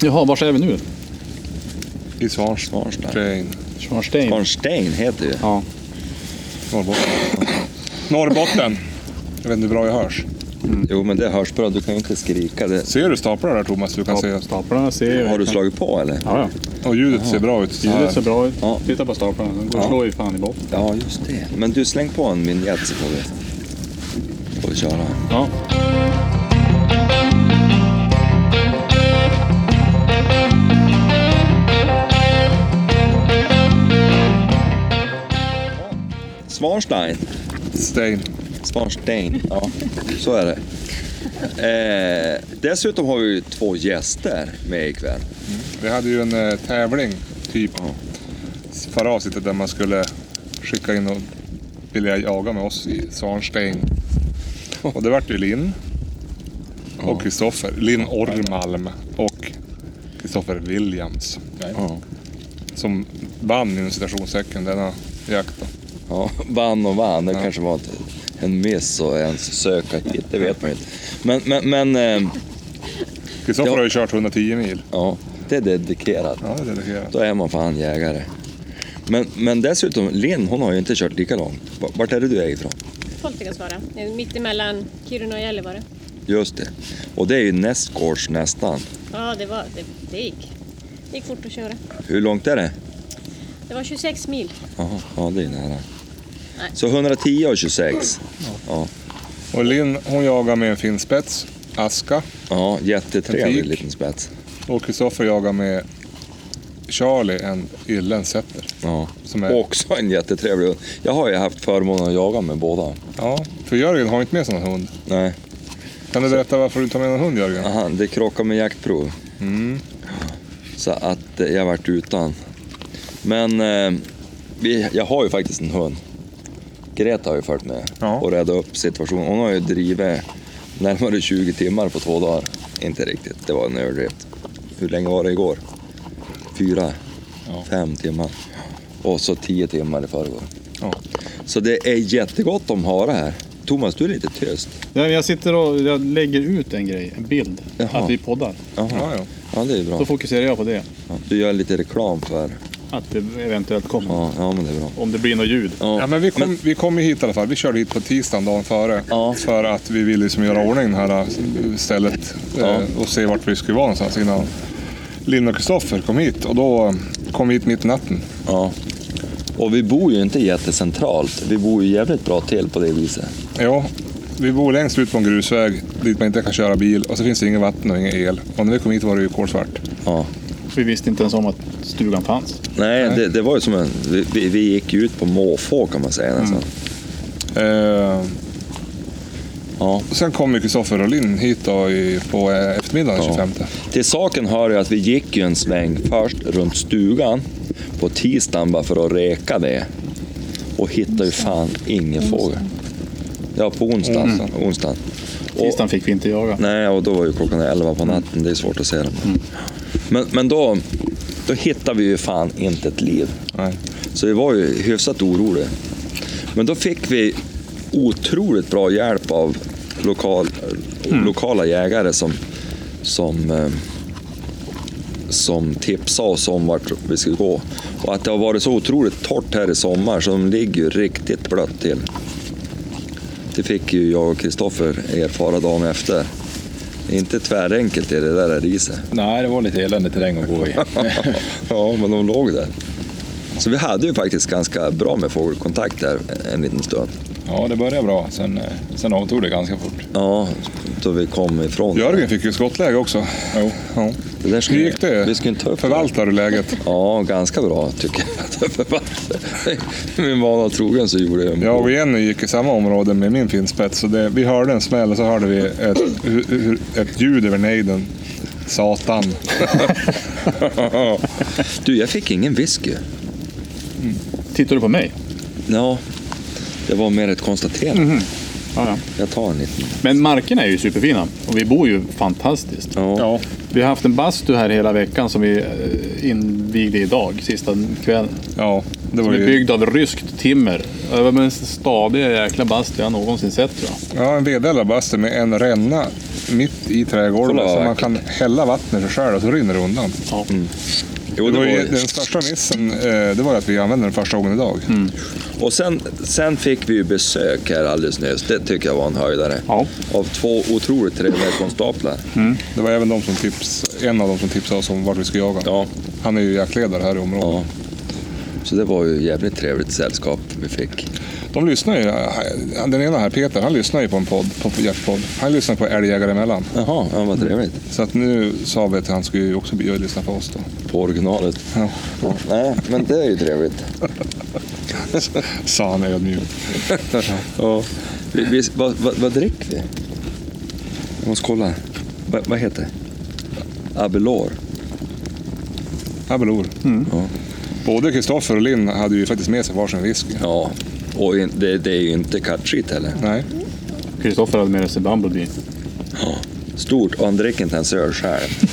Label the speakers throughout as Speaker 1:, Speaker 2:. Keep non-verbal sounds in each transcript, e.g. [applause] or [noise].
Speaker 1: Jaha, var är vi nu?
Speaker 2: I Svars, Svarstein.
Speaker 3: Train.
Speaker 1: Kvarnsten.
Speaker 2: Kvarnsten heter det
Speaker 1: Ja.
Speaker 3: Norrbotten. Norrbotten. Jag vet inte hur bra jag hörs.
Speaker 2: Jo, men det hörs bra. Du kan ju inte skrika. Det.
Speaker 3: Ser du staplar där Thomas? Du kan se.
Speaker 1: Ja, Staplarna ser jag.
Speaker 2: Har du slagit på eller?
Speaker 1: Ja, ja.
Speaker 3: Och ljudet ser bra ut. Så
Speaker 1: Ljudet
Speaker 3: här.
Speaker 1: ser bra ut.
Speaker 2: Ja.
Speaker 1: Titta på staplarna. De går
Speaker 3: Ja.
Speaker 1: slår ju fan i botten.
Speaker 2: Ja, just det. Men du, släng på en vinjett så får vi, får vi köra.
Speaker 1: Ja.
Speaker 2: Svarstein.
Speaker 3: Stein.
Speaker 2: Svarstein. Ja, så är det. Eh, dessutom har vi ju två gäster med ikväll.
Speaker 3: Vi hade ju en eh, tävling, typ. Farasit där man skulle skicka in och vilja jaga med oss i Svanstein. Och det vart ju Linn och Kristoffer. Linn Ormalm och Kristoffer Williams.
Speaker 2: Ja.
Speaker 3: Som vann inom citationssäcken denna jakt. Då.
Speaker 2: Ja, vann och vann. Det kanske var ett- en miss och ens söka hit. Det vet man ju inte. Men, men, men eh,
Speaker 3: Kristoffer
Speaker 2: Ja.
Speaker 3: har ju kört 110 mil.
Speaker 2: ja, det är dedikerat.
Speaker 3: Ja, det är dedikerat.
Speaker 2: Då är man fan jägare. Men, men dessutom, Linn hon har ju inte kört lika långt. V- Vart är det du är ifrån?
Speaker 4: Poltegasvara, mitt emellan Kiruna och Gällivare.
Speaker 2: Just det. Och det är ju nästgårds nästan.
Speaker 4: Ja, det, var, det, det gick. Det gick fort att köra.
Speaker 2: Hur långt är det?
Speaker 4: Det var 26 mil.
Speaker 2: Jaha, ja det är nära.
Speaker 4: Nej.
Speaker 2: Så 110 och 26. Ja,
Speaker 3: Och Linn hon jagar med en fin spets, aska.
Speaker 2: ja jättetrevlig
Speaker 3: Trafik.
Speaker 2: liten spets.
Speaker 3: Och Kristoffer jagar med Charlie, en irländsk setter.
Speaker 2: Ja.
Speaker 3: Som är-
Speaker 2: Också en jättetrevlig hund. Jag har ju haft förmånen att jaga med båda.
Speaker 3: Ja, för Jörgen har inte med sig någon hund.
Speaker 2: Nej,
Speaker 3: Kan du berätta varför du inte har med någon hund Jörgen?
Speaker 2: aha, det krockar med jaktprov.
Speaker 3: Mm.
Speaker 2: Så att eh, jag vart utan. Men eh, vi, jag har ju faktiskt en hund. Greta har ju följt med
Speaker 3: Ja.
Speaker 2: och räddat upp situationen. Hon har ju drivit närmare 20 timmar på två dagar. Inte riktigt, det var en överdrift. Hur länge var det igår? Fyra, fem timmar. Och så tio timmar i förrgår.
Speaker 3: Ja.
Speaker 2: Så det är jättegott om hare här. Thomas, du är lite tyst.
Speaker 1: Ja, men Jag sitter och jag lägger ut en grej, en bild,
Speaker 2: Jaha.
Speaker 1: att vi poddar.
Speaker 2: Jaha.
Speaker 3: Ja, ja.
Speaker 2: Ja, det är bra.
Speaker 1: Då fokuserar jag på det.
Speaker 2: Du gör lite reklam för...
Speaker 1: Att det eventuellt kommer.
Speaker 2: Ja, ja men det är bra.
Speaker 1: Om det blir något ljud.
Speaker 3: ja men vi kom, vi kom ju hit i alla fall. Vi körde hit på tisdagen dagen före.
Speaker 2: Ja.
Speaker 3: För att vi ville liksom göra ordning det här eh, stället
Speaker 2: Ja.
Speaker 3: eh, och se vart vi skulle vara någonstans innan Linn och Kristoffer kom hit. Och då eh, kom vi hit mitt i natten.
Speaker 2: Ja. Och vi bor ju inte jättecentralt. Vi bor ju jävligt bra till på det viset.
Speaker 3: Ja, vi bor längst ut på en grusväg dit man inte kan köra bil och så finns det inget vatten och ingen el. Och när vi kom hit var det ju kolsvart.
Speaker 2: Ja.
Speaker 1: Vi visste inte ens om att stugan fanns.
Speaker 2: Nej, det, det var ju som en... Vi, vi, vi gick ju ut på måfå kan man säga nästan.
Speaker 3: Eh,
Speaker 2: Ja.
Speaker 3: och sen kom ju Kristoffer och Linn hit då i, på eh, eftermiddagen den
Speaker 2: Ja.
Speaker 3: 25.
Speaker 2: Till saken hör ju att vi gick ju en sväng först runt stugan på tisdagen bara för att reka det. Och hittade ju fan ingen fågel. Ja, på onsdagen. onsdagen. Och-
Speaker 1: Tisdagen fick vi inte jaga.
Speaker 2: Nej, och då var ju klockan 11 på natten. Det är svårt att se dem. Men, men då, då hittade vi ju fan inte ett liv.
Speaker 3: Nej.
Speaker 2: Så vi var ju hyfsat oroliga. Men då fick vi otroligt bra hjälp av lokal, lokala jägare som, som, eh, som tipsade oss om vart vi skulle gå. Och att det har varit så otroligt torrt här i sommar så de ligger ju riktigt blött till. Det fick ju jag och Kristoffer erfara dagen efter. Det är Inte tvärenkelt i det där riset.
Speaker 5: Nej, det var lite eländig terräng att gå i.
Speaker 2: ja, men de låg där. Så vi hade ju faktiskt ganska bra med fågelkontakt där en liten stund.
Speaker 5: Ja, det började bra. Sen, eh, sen avtog det ganska fort.
Speaker 2: Ja, då vi kom ifrån.
Speaker 3: Jörgen fick ju skottläge också.
Speaker 5: Jo.
Speaker 3: Ja.
Speaker 2: Det där ska
Speaker 3: Hur
Speaker 2: vi-
Speaker 3: gick det?
Speaker 2: Vi ska inte ta upp det.
Speaker 3: Förvaltar du läget?
Speaker 2: Ja, ganska bra tycker jag. [laughs] att jag förvaltade. Min vana trogen så gjorde jag
Speaker 3: Jag och Jenny gick i samma område med min finspets. Så det, vi hörde en smäll och så hörde vi ett, hu- hu- ett ljud över nejden. Satan.
Speaker 2: Du, jag fick ingen whisky.
Speaker 1: Tittar du på mig?
Speaker 2: Ja, det var mer ett konstaterande.
Speaker 3: Mhm.
Speaker 1: Ja, ja.
Speaker 2: Jag tar en liten.
Speaker 1: Men markerna är ju superfina. Och vi bor ju fantastiskt.
Speaker 2: Ja.
Speaker 1: Vi har haft en bastu här hela veckan som vi eh, invigde idag, sista kvällen.
Speaker 3: Ja, det var
Speaker 1: Som är
Speaker 3: ju...
Speaker 1: byggd av ryskt timmer. Det var den stadiga jäkla bastu jag någonsin sett tror jag.
Speaker 3: Ja, en vedeldad bastu med en ränna mitt i trädgården
Speaker 2: Kolla vad
Speaker 3: så man
Speaker 2: vackert.
Speaker 3: kan hälla vattnet för själv och så rinner det undan.
Speaker 1: Ja.
Speaker 2: Jo,
Speaker 3: Det
Speaker 2: det
Speaker 3: var ju,
Speaker 2: var,
Speaker 3: den största missen eh, det var ju att vi använde den första gången idag.
Speaker 2: Mm. och sen, sen fick vi ju besök här alldeles nyss. Det tycker jag var en höjdare.
Speaker 1: Ja.
Speaker 2: Av två otroligt trevliga konstaplar.
Speaker 3: Det var även de som tips, en av dem som tipsade oss om vart vi skulle jaga.
Speaker 2: Ja.
Speaker 3: Han är ju jaktledare här i området.
Speaker 2: ja. Så det var ju jävligt trevligt sällskap vi fick.
Speaker 3: De lyssnar ju, eh, den ena här, Peter, han lyssnar ju på en podd, på en jaktpodd. Han lyssnar på Älgjägare emellan.
Speaker 2: Jaha, ja, vad trevligt.
Speaker 3: Så att nu sa vi att han skulle ju också bli och lyssna på
Speaker 2: [laughs]
Speaker 3: oss då.
Speaker 2: På originalet.
Speaker 3: Ja.
Speaker 2: Ja, nej, men det är ju trevligt.
Speaker 3: Sa han ödmjukt.
Speaker 2: Ja. Vi, vi, vad, vad, vad dricker vi? Jag måste kolla. Va, vad heter det? Abelor.
Speaker 3: Abelor.
Speaker 2: Ja.
Speaker 3: Både Kristoffer och Linn hade ju faktiskt med sig varsin whisky.
Speaker 2: ja. Och in- det, det är ju inte kattskit heller.
Speaker 3: Nej,
Speaker 1: Kristoffer hade med sig Bumblebee.
Speaker 2: Stort, och han dricker inte ens öl själv.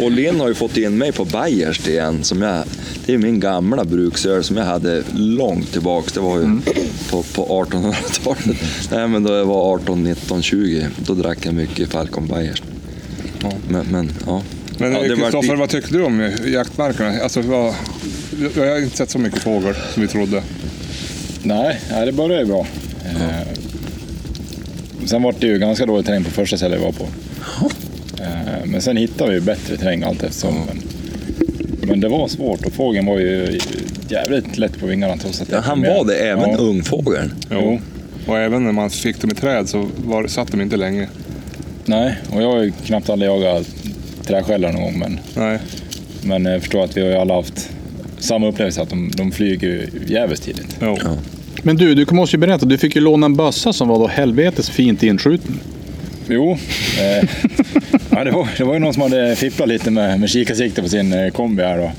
Speaker 2: och Linn har ju fått in mig på Bayerst igen. Som jag, det är min gamla bruksöl som jag hade långt tillbaks. Det var ju på, på 1800-talet. Nej, men då jag var 18, 19, 20, då drack jag mycket Falcon Bayerst.
Speaker 3: Ja.
Speaker 2: Men, men ja.
Speaker 3: Men
Speaker 2: ja, det vart
Speaker 3: Kristoffer,
Speaker 2: li-
Speaker 3: vad tyckte du om jaktmarkerna? Alltså, vad... Jag har inte sett så mycket fågel som vi trodde.
Speaker 5: Nej, nej, det började ju bra. Eh, sen var det ju ganska dålig terräng på första stället vi var på. Eh, men sen hittade vi ju bättre terräng allt eftersom. Men, men det var svårt och fågeln var ju jävligt lätt på vingarna. Trots att
Speaker 2: Ja, han var det, även
Speaker 5: ja.
Speaker 2: ungfågeln.
Speaker 5: Jo,
Speaker 3: Och även när man fick dem i träd så var, satt de inte länge.
Speaker 5: nej, och jag har ju knappt aldrig jagat träskällar någon gång. Men,
Speaker 3: Nej.
Speaker 5: men jag förstår att vi har ju alla haft samma upplevelse att de, de flyger ju jävligt tidigt.
Speaker 3: Jo.
Speaker 2: Ja.
Speaker 1: Men du, du måste ju berätta. Du fick ju låna en bössa som var då helvetes fint inskjuten.
Speaker 5: Jo, eh, ja, det, var, det var ju någon som hade fipplat lite med, med kikarsikte på sin eh, kombi här då.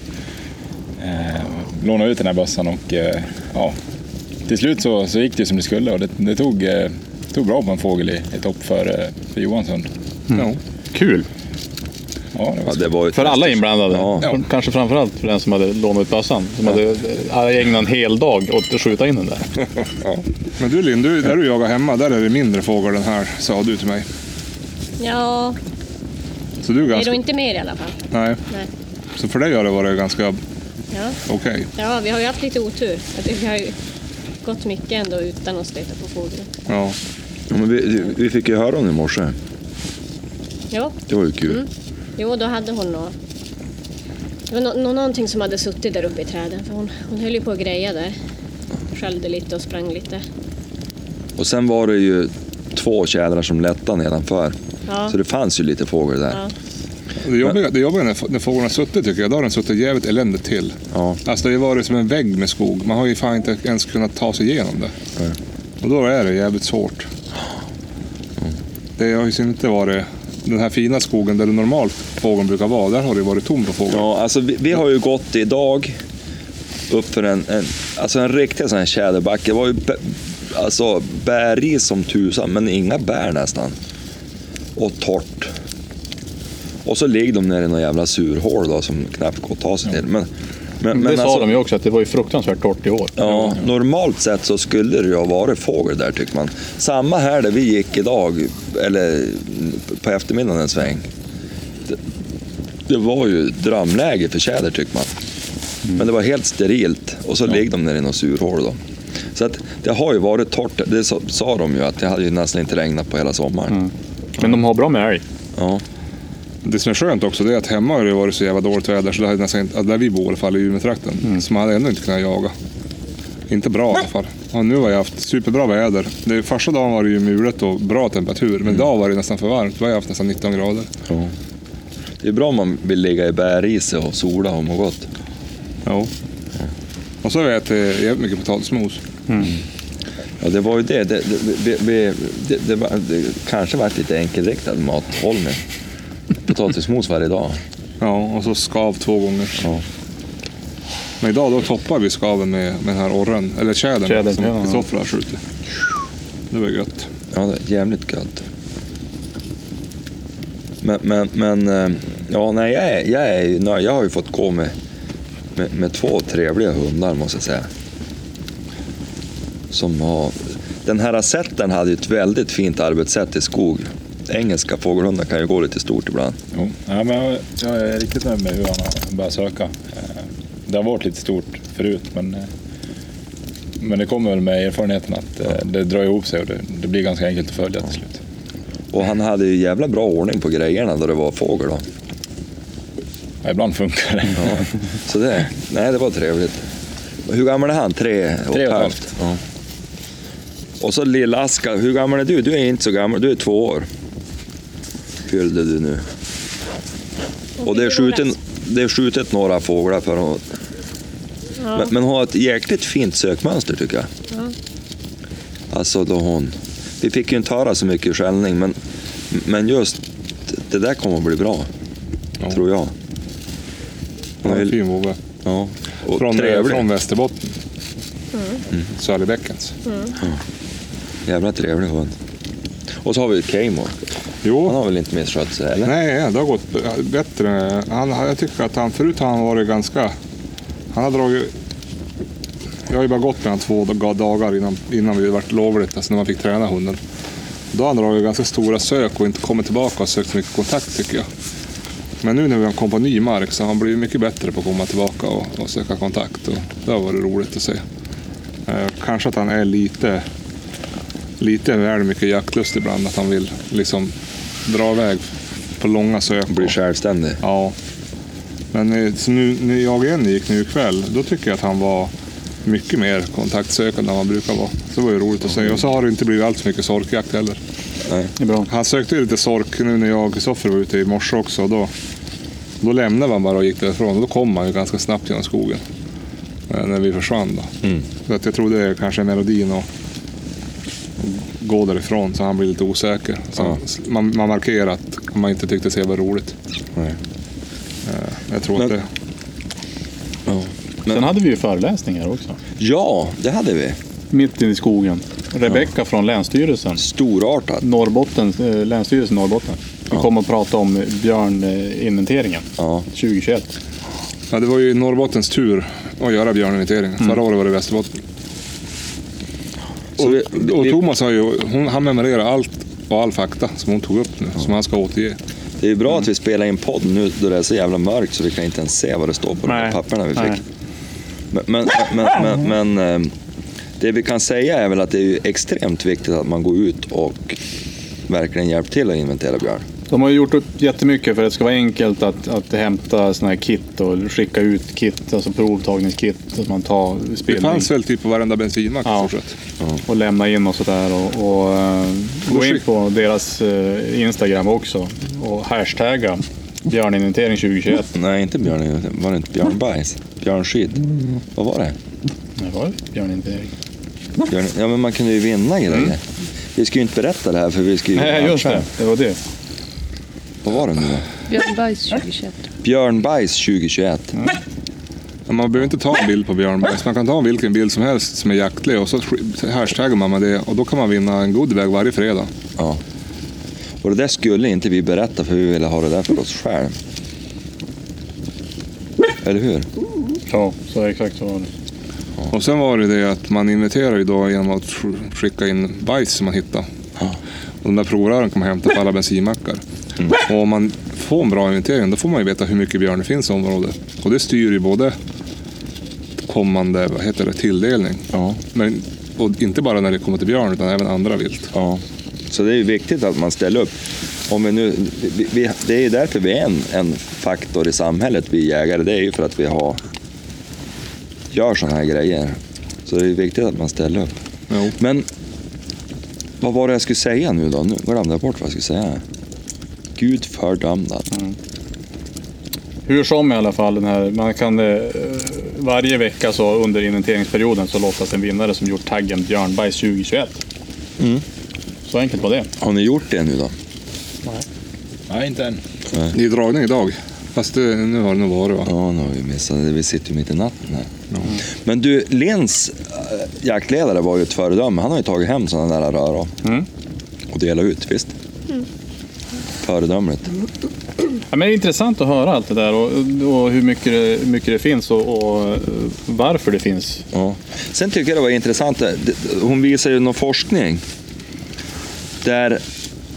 Speaker 5: Eh, lånade ut den här bössan och eh, ja, till slut så, så gick det ju som det skulle och det, det tog, eh, tog bra på en fågel i ett hopp för, eh, för Johanssund.
Speaker 3: Jo.
Speaker 2: Mm.
Speaker 1: Kul!
Speaker 5: Ja, det
Speaker 2: Ja,
Speaker 5: var
Speaker 2: det var ju
Speaker 1: För alla inblandade.
Speaker 2: Ja.
Speaker 1: För- Kanske framförallt för den som hade lånat ut bössan. Som hade ägnat en hel dag åt att skjuta in den där.
Speaker 3: Men du Linn, du, där du jagar hemma, där är det mindre fågel än här, sa du till mig.
Speaker 4: Ja,
Speaker 3: Så du är
Speaker 4: det är
Speaker 3: ganska...
Speaker 4: då inte mer i alla fall.
Speaker 3: Nej.
Speaker 4: Nej.
Speaker 3: Så för dig har det varit ganska
Speaker 4: Ja.
Speaker 3: okej.
Speaker 4: ja, vi har ju haft lite otur. Att Vi har ju gått mycket ändå utan att stöta på fåglar.
Speaker 3: Ja.
Speaker 2: Ja, men vi, vi fick ju höra om det i morse.
Speaker 4: Ja,
Speaker 2: Det var ju kul.
Speaker 4: jo, då hade hon nå... Det var nå- nå- någonting som hade suttit där uppe i träden. För hon, hon höll ju på att greja där. Skällde lite och sprang lite.
Speaker 2: Och sen var det ju två tjädrar som lättade nedanför.
Speaker 4: Ja.
Speaker 2: Så det fanns ju lite fågel där.
Speaker 4: Ja.
Speaker 3: Och Det jobbiga, det jobbiga när, när fågeln har suttit tycker jag, då har den suttit jävligt eländigt till.
Speaker 2: Ja.
Speaker 3: Alltså det har ju varit som en vägg med skog. Man har ju fan inte ens kunnat ta sig igenom det. Och då är det jävligt svårt. Det har ju inte varit den här fina skogen där det normalt fågeln brukar vara. Där har det ju varit tomt på fågel.
Speaker 2: Ja, alltså vi, vi har ju gått idag upp för en, en, alltså en riktig sån här tjäderbacke. Det var ju bä, alltså bärig som tusan, men inga bär nästan. Och torrt. Och så ligger de nere i några jävla surhål då, som knappt går att ta sig till. Men, men,
Speaker 1: Mm, det
Speaker 2: men
Speaker 1: sa
Speaker 2: alltså,
Speaker 1: de ju också, att det var ju fruktansvärt torrt i år.
Speaker 2: Ja, normalt sett så skulle det ju ha varit fågel där tycker man. Samma här där vi gick idag, eller på eftermiddagen en sväng. Det, det var ju drömläge för tjäder tycker man. Men det var helt sterilt och så ligger de nere i något surhål då. Så att det har ju varit torrt, det sa, sa de ju att det hade ju nästan inte regnat på hela sommaren.
Speaker 1: Men de har bra med älg.
Speaker 2: Ja.
Speaker 3: Det som är skönt också det är att hemma har det varit så jävla dåligt väder så det hade nästan inte, där vi bor i alla fall i Umeåtrakten. Så man hade ändå inte kunnat jaga. Inte bra i alla fall. Ja, nu har jag haft superbra väder. Det, första dagen var det ju mulet och bra temperatur. Men idag var det nästan för varmt. Då har jag haft nästan 19 grader.
Speaker 2: Det är bra om man vill ligga i bärise och sola och må gott.
Speaker 3: Ja. Och så har vi ätit jävligt mycket potatismos.
Speaker 2: Ja, det var ju det. Det, det, vi- vi- det, det, var- det kanske varit lite enkelriktad mathållning. Potatismos varje dag.
Speaker 3: Ja, och så skav två gånger.
Speaker 2: Ja.
Speaker 3: Men idag då toppar vi skaven med, med den här orren, eller tjädern
Speaker 1: Tjädern,
Speaker 3: som
Speaker 1: ja, ja.
Speaker 3: Kristoffer har skjutit. Det var gött.
Speaker 2: Ja, det är jävligt gött. Men, men, men eh, ja, nej, jag, är, jag, är, ju nöjd. jag har ju fått gå med, med, med två trevliga hundar måste jag säga. Som har, den här setten hade ju ett väldigt fint arbetssätt i skog. engelska fågelhundar kan ju gå lite stort ibland.
Speaker 5: Jo. Ja, men jag, jag är riktigt nöjd med hur han har börjat söka. Eh, Det har varit lite stort förut, men, eh, men det kommer väl med erfarenheten att eh, det drar ihop sig och det, det blir ganska enkelt att följa till slut.
Speaker 2: Och han hade ju jävla bra ordning på grejerna då det var fågel. Då.
Speaker 5: Ja, ibland funkar det.
Speaker 2: Ja. Så det, nej, det var trevligt. Hur gammal är han? Tre och,
Speaker 5: Tre
Speaker 2: ett halvt? Ja. Och så lilla Aska, hur gammal är du? Du är inte så gammal, du är två år. Fyllde du nu. Och det är, skjuten, det är skjutet några fåglar för honom.
Speaker 4: Ja.
Speaker 2: Men, men hon har ett jäkligt fint sökmönster tycker jag.
Speaker 4: Ja.
Speaker 2: Alltså då hon... Vi fick ju inte höra så mycket skällning, men, men just det där kommer att bli bra.
Speaker 3: Ja.
Speaker 2: Tror jag. Hon
Speaker 3: Han
Speaker 2: har
Speaker 3: är en
Speaker 2: ju-
Speaker 3: fin vovve.
Speaker 2: Ja. Och
Speaker 3: Från, eh,
Speaker 2: trevlig.
Speaker 3: från Västerbotten. Sölvbäckens.
Speaker 2: Jävla trevlig hund. Och så har vi Keimo. Han
Speaker 3: Jo,
Speaker 2: har väl inte misskött sig? Eller?
Speaker 3: nej, det har gått b- bättre. Han, jag tycker att han förut har han varit ganska... Han har dragit... Jag har ju bara gått med honom två dag- dagar innan, innan vi vart lovligt, alltså när man fick träna hunden. Då har han dragit ganska stora sök och inte kommit tillbaka och sökt så mycket kontakt tycker jag. Men nu när han kom på ny mark så har han blivit mycket bättre på att komma tillbaka och, och söka kontakt. Och det har varit roligt att se. Eh, kanske att han är lite, lite väl mycket jaktlust ibland. Att han vill liksom dra iväg på långa sök.
Speaker 2: Blir
Speaker 3: och-
Speaker 2: självständig.
Speaker 3: Ja. Men eh, så nu, när jag igen gick nu ikväll, då tycker jag att han var mycket mer kontaktsökande än han brukar vara. Så det var ju roligt att se. Och så har det inte blivit allt för mycket sorkjakt heller.
Speaker 1: Det är bra.
Speaker 3: Han sökte ju lite sork nu när jag och Kristoffer var ute i morse också. och Då, då lämnade han bara och gick därifrån och då kom han ju ganska snabbt genom skogen. eh, När vi försvann då. Så att jag tror det är kanske melodin och och gå därifrån så han blir lite osäker. Så
Speaker 2: Ja.
Speaker 3: man, man markerar att man inte tyckte det var roligt.
Speaker 2: Nej.
Speaker 3: Jag tror
Speaker 2: Men-
Speaker 3: att det...
Speaker 2: Ja.
Speaker 1: Sen hade vi ju föreläsningar också.
Speaker 2: ja, det hade vi.
Speaker 1: Mitt i skogen. Rebecka från Länsstyrelsen.
Speaker 2: Storartat.
Speaker 1: Norrbotten, eh, Länsstyrelsen Norrbotten. Vi
Speaker 2: Ja.
Speaker 1: kom och pratade om eh, björninventeringen
Speaker 2: Ja.
Speaker 1: 2021.
Speaker 3: Ja, det var ju Norrbottens tur att göra björninventeringen.
Speaker 2: Mm.
Speaker 3: Förra året var det Västerbotten.
Speaker 2: Så
Speaker 3: och,
Speaker 2: vi- vi-
Speaker 3: och
Speaker 2: vi-
Speaker 3: Thomas har ju, hon, han memorerar allt och all fakta som hon tog upp nu, som han ska återge.
Speaker 2: Det är bra
Speaker 3: Mm.
Speaker 2: att vi spelar in podd nu då det är så jävla mörkt så vi kan inte ens se vad det står på de
Speaker 1: Nej.
Speaker 2: här papperna vi
Speaker 1: Nej.
Speaker 2: fick. Men, men, men, men, men ehm, det vi kan säga är väl att det är ju extremt viktigt att man går ut och verkligen hjälper till att inventera björn.
Speaker 1: De har ju gjort upp jättemycket för att det ska vara enkelt att, att hämta sådana här kit och skicka ut kit, alltså provtagningskit så att man tar
Speaker 3: Det
Speaker 1: spelning
Speaker 3: fanns väl typ på varenda bensinmack i
Speaker 1: Ja.
Speaker 3: stort sett.
Speaker 1: och lämna in och sådär. Och, och eh, gå in på deras eh, Instagram också och hashtagga björninventering 2021.
Speaker 2: Nej, inte björn. Var det inte björnbajs? Björnskit?
Speaker 3: Mm.
Speaker 2: Vad var det?
Speaker 1: Nej, var det björninventering?
Speaker 2: Björn, ja, men man kunde ju vinna grejer. Vi ska ju inte berätta det här för vi ska ju...
Speaker 1: Mm. Nej, just det. Det var det.
Speaker 2: Vad var det nu då?
Speaker 6: Björn Bajs 2021.
Speaker 2: Björnbajs 2021.
Speaker 3: Men Man behöver inte ta en bild på björnbajs. Man kan ta vilken bild som helst som är jaktlig och så sk- hashtaggar man med det och då kan man vinna en goodiebag varje fredag.
Speaker 2: Ja. Och det där skulle inte vi berätta för vi ville ha det där för oss själv. Eller hur?
Speaker 1: Ja, så exakt så var det.
Speaker 3: Och sen var det det att man inviterar ju då genom att sk- skicka in bajs som man hittar.
Speaker 2: Ja. Mm.
Speaker 3: Och de där provrören kan man hämta på alla bensinmackar. Och om man får en bra inventering då får man ju veta hur mycket björn det finns i området. Och det styr ju både kommande vad heter det, tilldelning.
Speaker 2: Ja.
Speaker 3: Men, och inte bara när det kommer till björn utan även andra vilt.
Speaker 2: ja. Så det är ju viktigt att man ställer upp. Om vi nu, vi, vi, det är ju därför vi är en, en faktor i samhället, vi jägare. Det är ju för att vi har, gör sådana här grejer. Så det är ju viktigt att man ställer upp.
Speaker 3: Jo.
Speaker 2: Men vad var det jag skulle säga nu då? Nu glömde jag bort vad jag skulle säga. Gud fördamnat.
Speaker 1: Hur som i alla fall, den här, man kan, eh, varje vecka så under inventeringsperioden så lottas en vinnare som gjort taggen Björnbergs 2021. Mm. Så enkelt var det.
Speaker 2: Har ni gjort det nu då?
Speaker 5: Nej, inte än.
Speaker 3: Det är dragning idag. Fast det, nu har det nog varit va?
Speaker 2: Ja, nu har vi missat det. Vi sitter ju mitt i natten här. Men du, Lens äh, jaktledare var ju ett föredöme. Han har ju tagit hem sådana där rör och,
Speaker 1: Mm.
Speaker 2: och delat ut, visst? Föredömligt.
Speaker 1: Ja, men det är intressant att höra allt det där och, och hur mycket det, hur mycket det finns och, och eh, varför det finns.
Speaker 2: Ja. Sen tycker äh, jag det var intressant, det- det- hon visar ju någon forskning där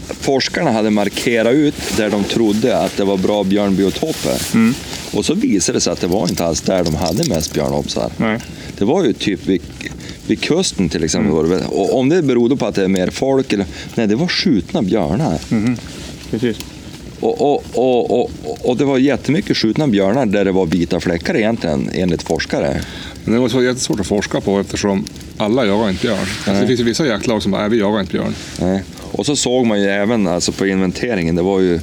Speaker 2: forskarna hade markerat ut där de trodde att det var bra björnbiotoper.
Speaker 1: Mm.
Speaker 2: Och så visade det sig att det var inte alls där de hade mest björnhopsar.
Speaker 1: Nej.
Speaker 2: Det var ju typ vid, vid kusten till exempel. var det väl. Och om det berodde på att det är mer folk eller... Nej, det var skjutna björnar.
Speaker 3: Mm.
Speaker 1: Precis.
Speaker 2: Och, och, och, och, och det var jättemycket skjutna björnar där det var vita fläckar egentligen, enligt forskare.
Speaker 3: Men det var så jättesvårt att forska på eftersom alla jagar inte björn. Alltså, det finns ju vissa jaktlag som bara, nej vi jagar inte björn.
Speaker 2: Nej. Och så såg man ju även alltså, på inventeringen, det var ju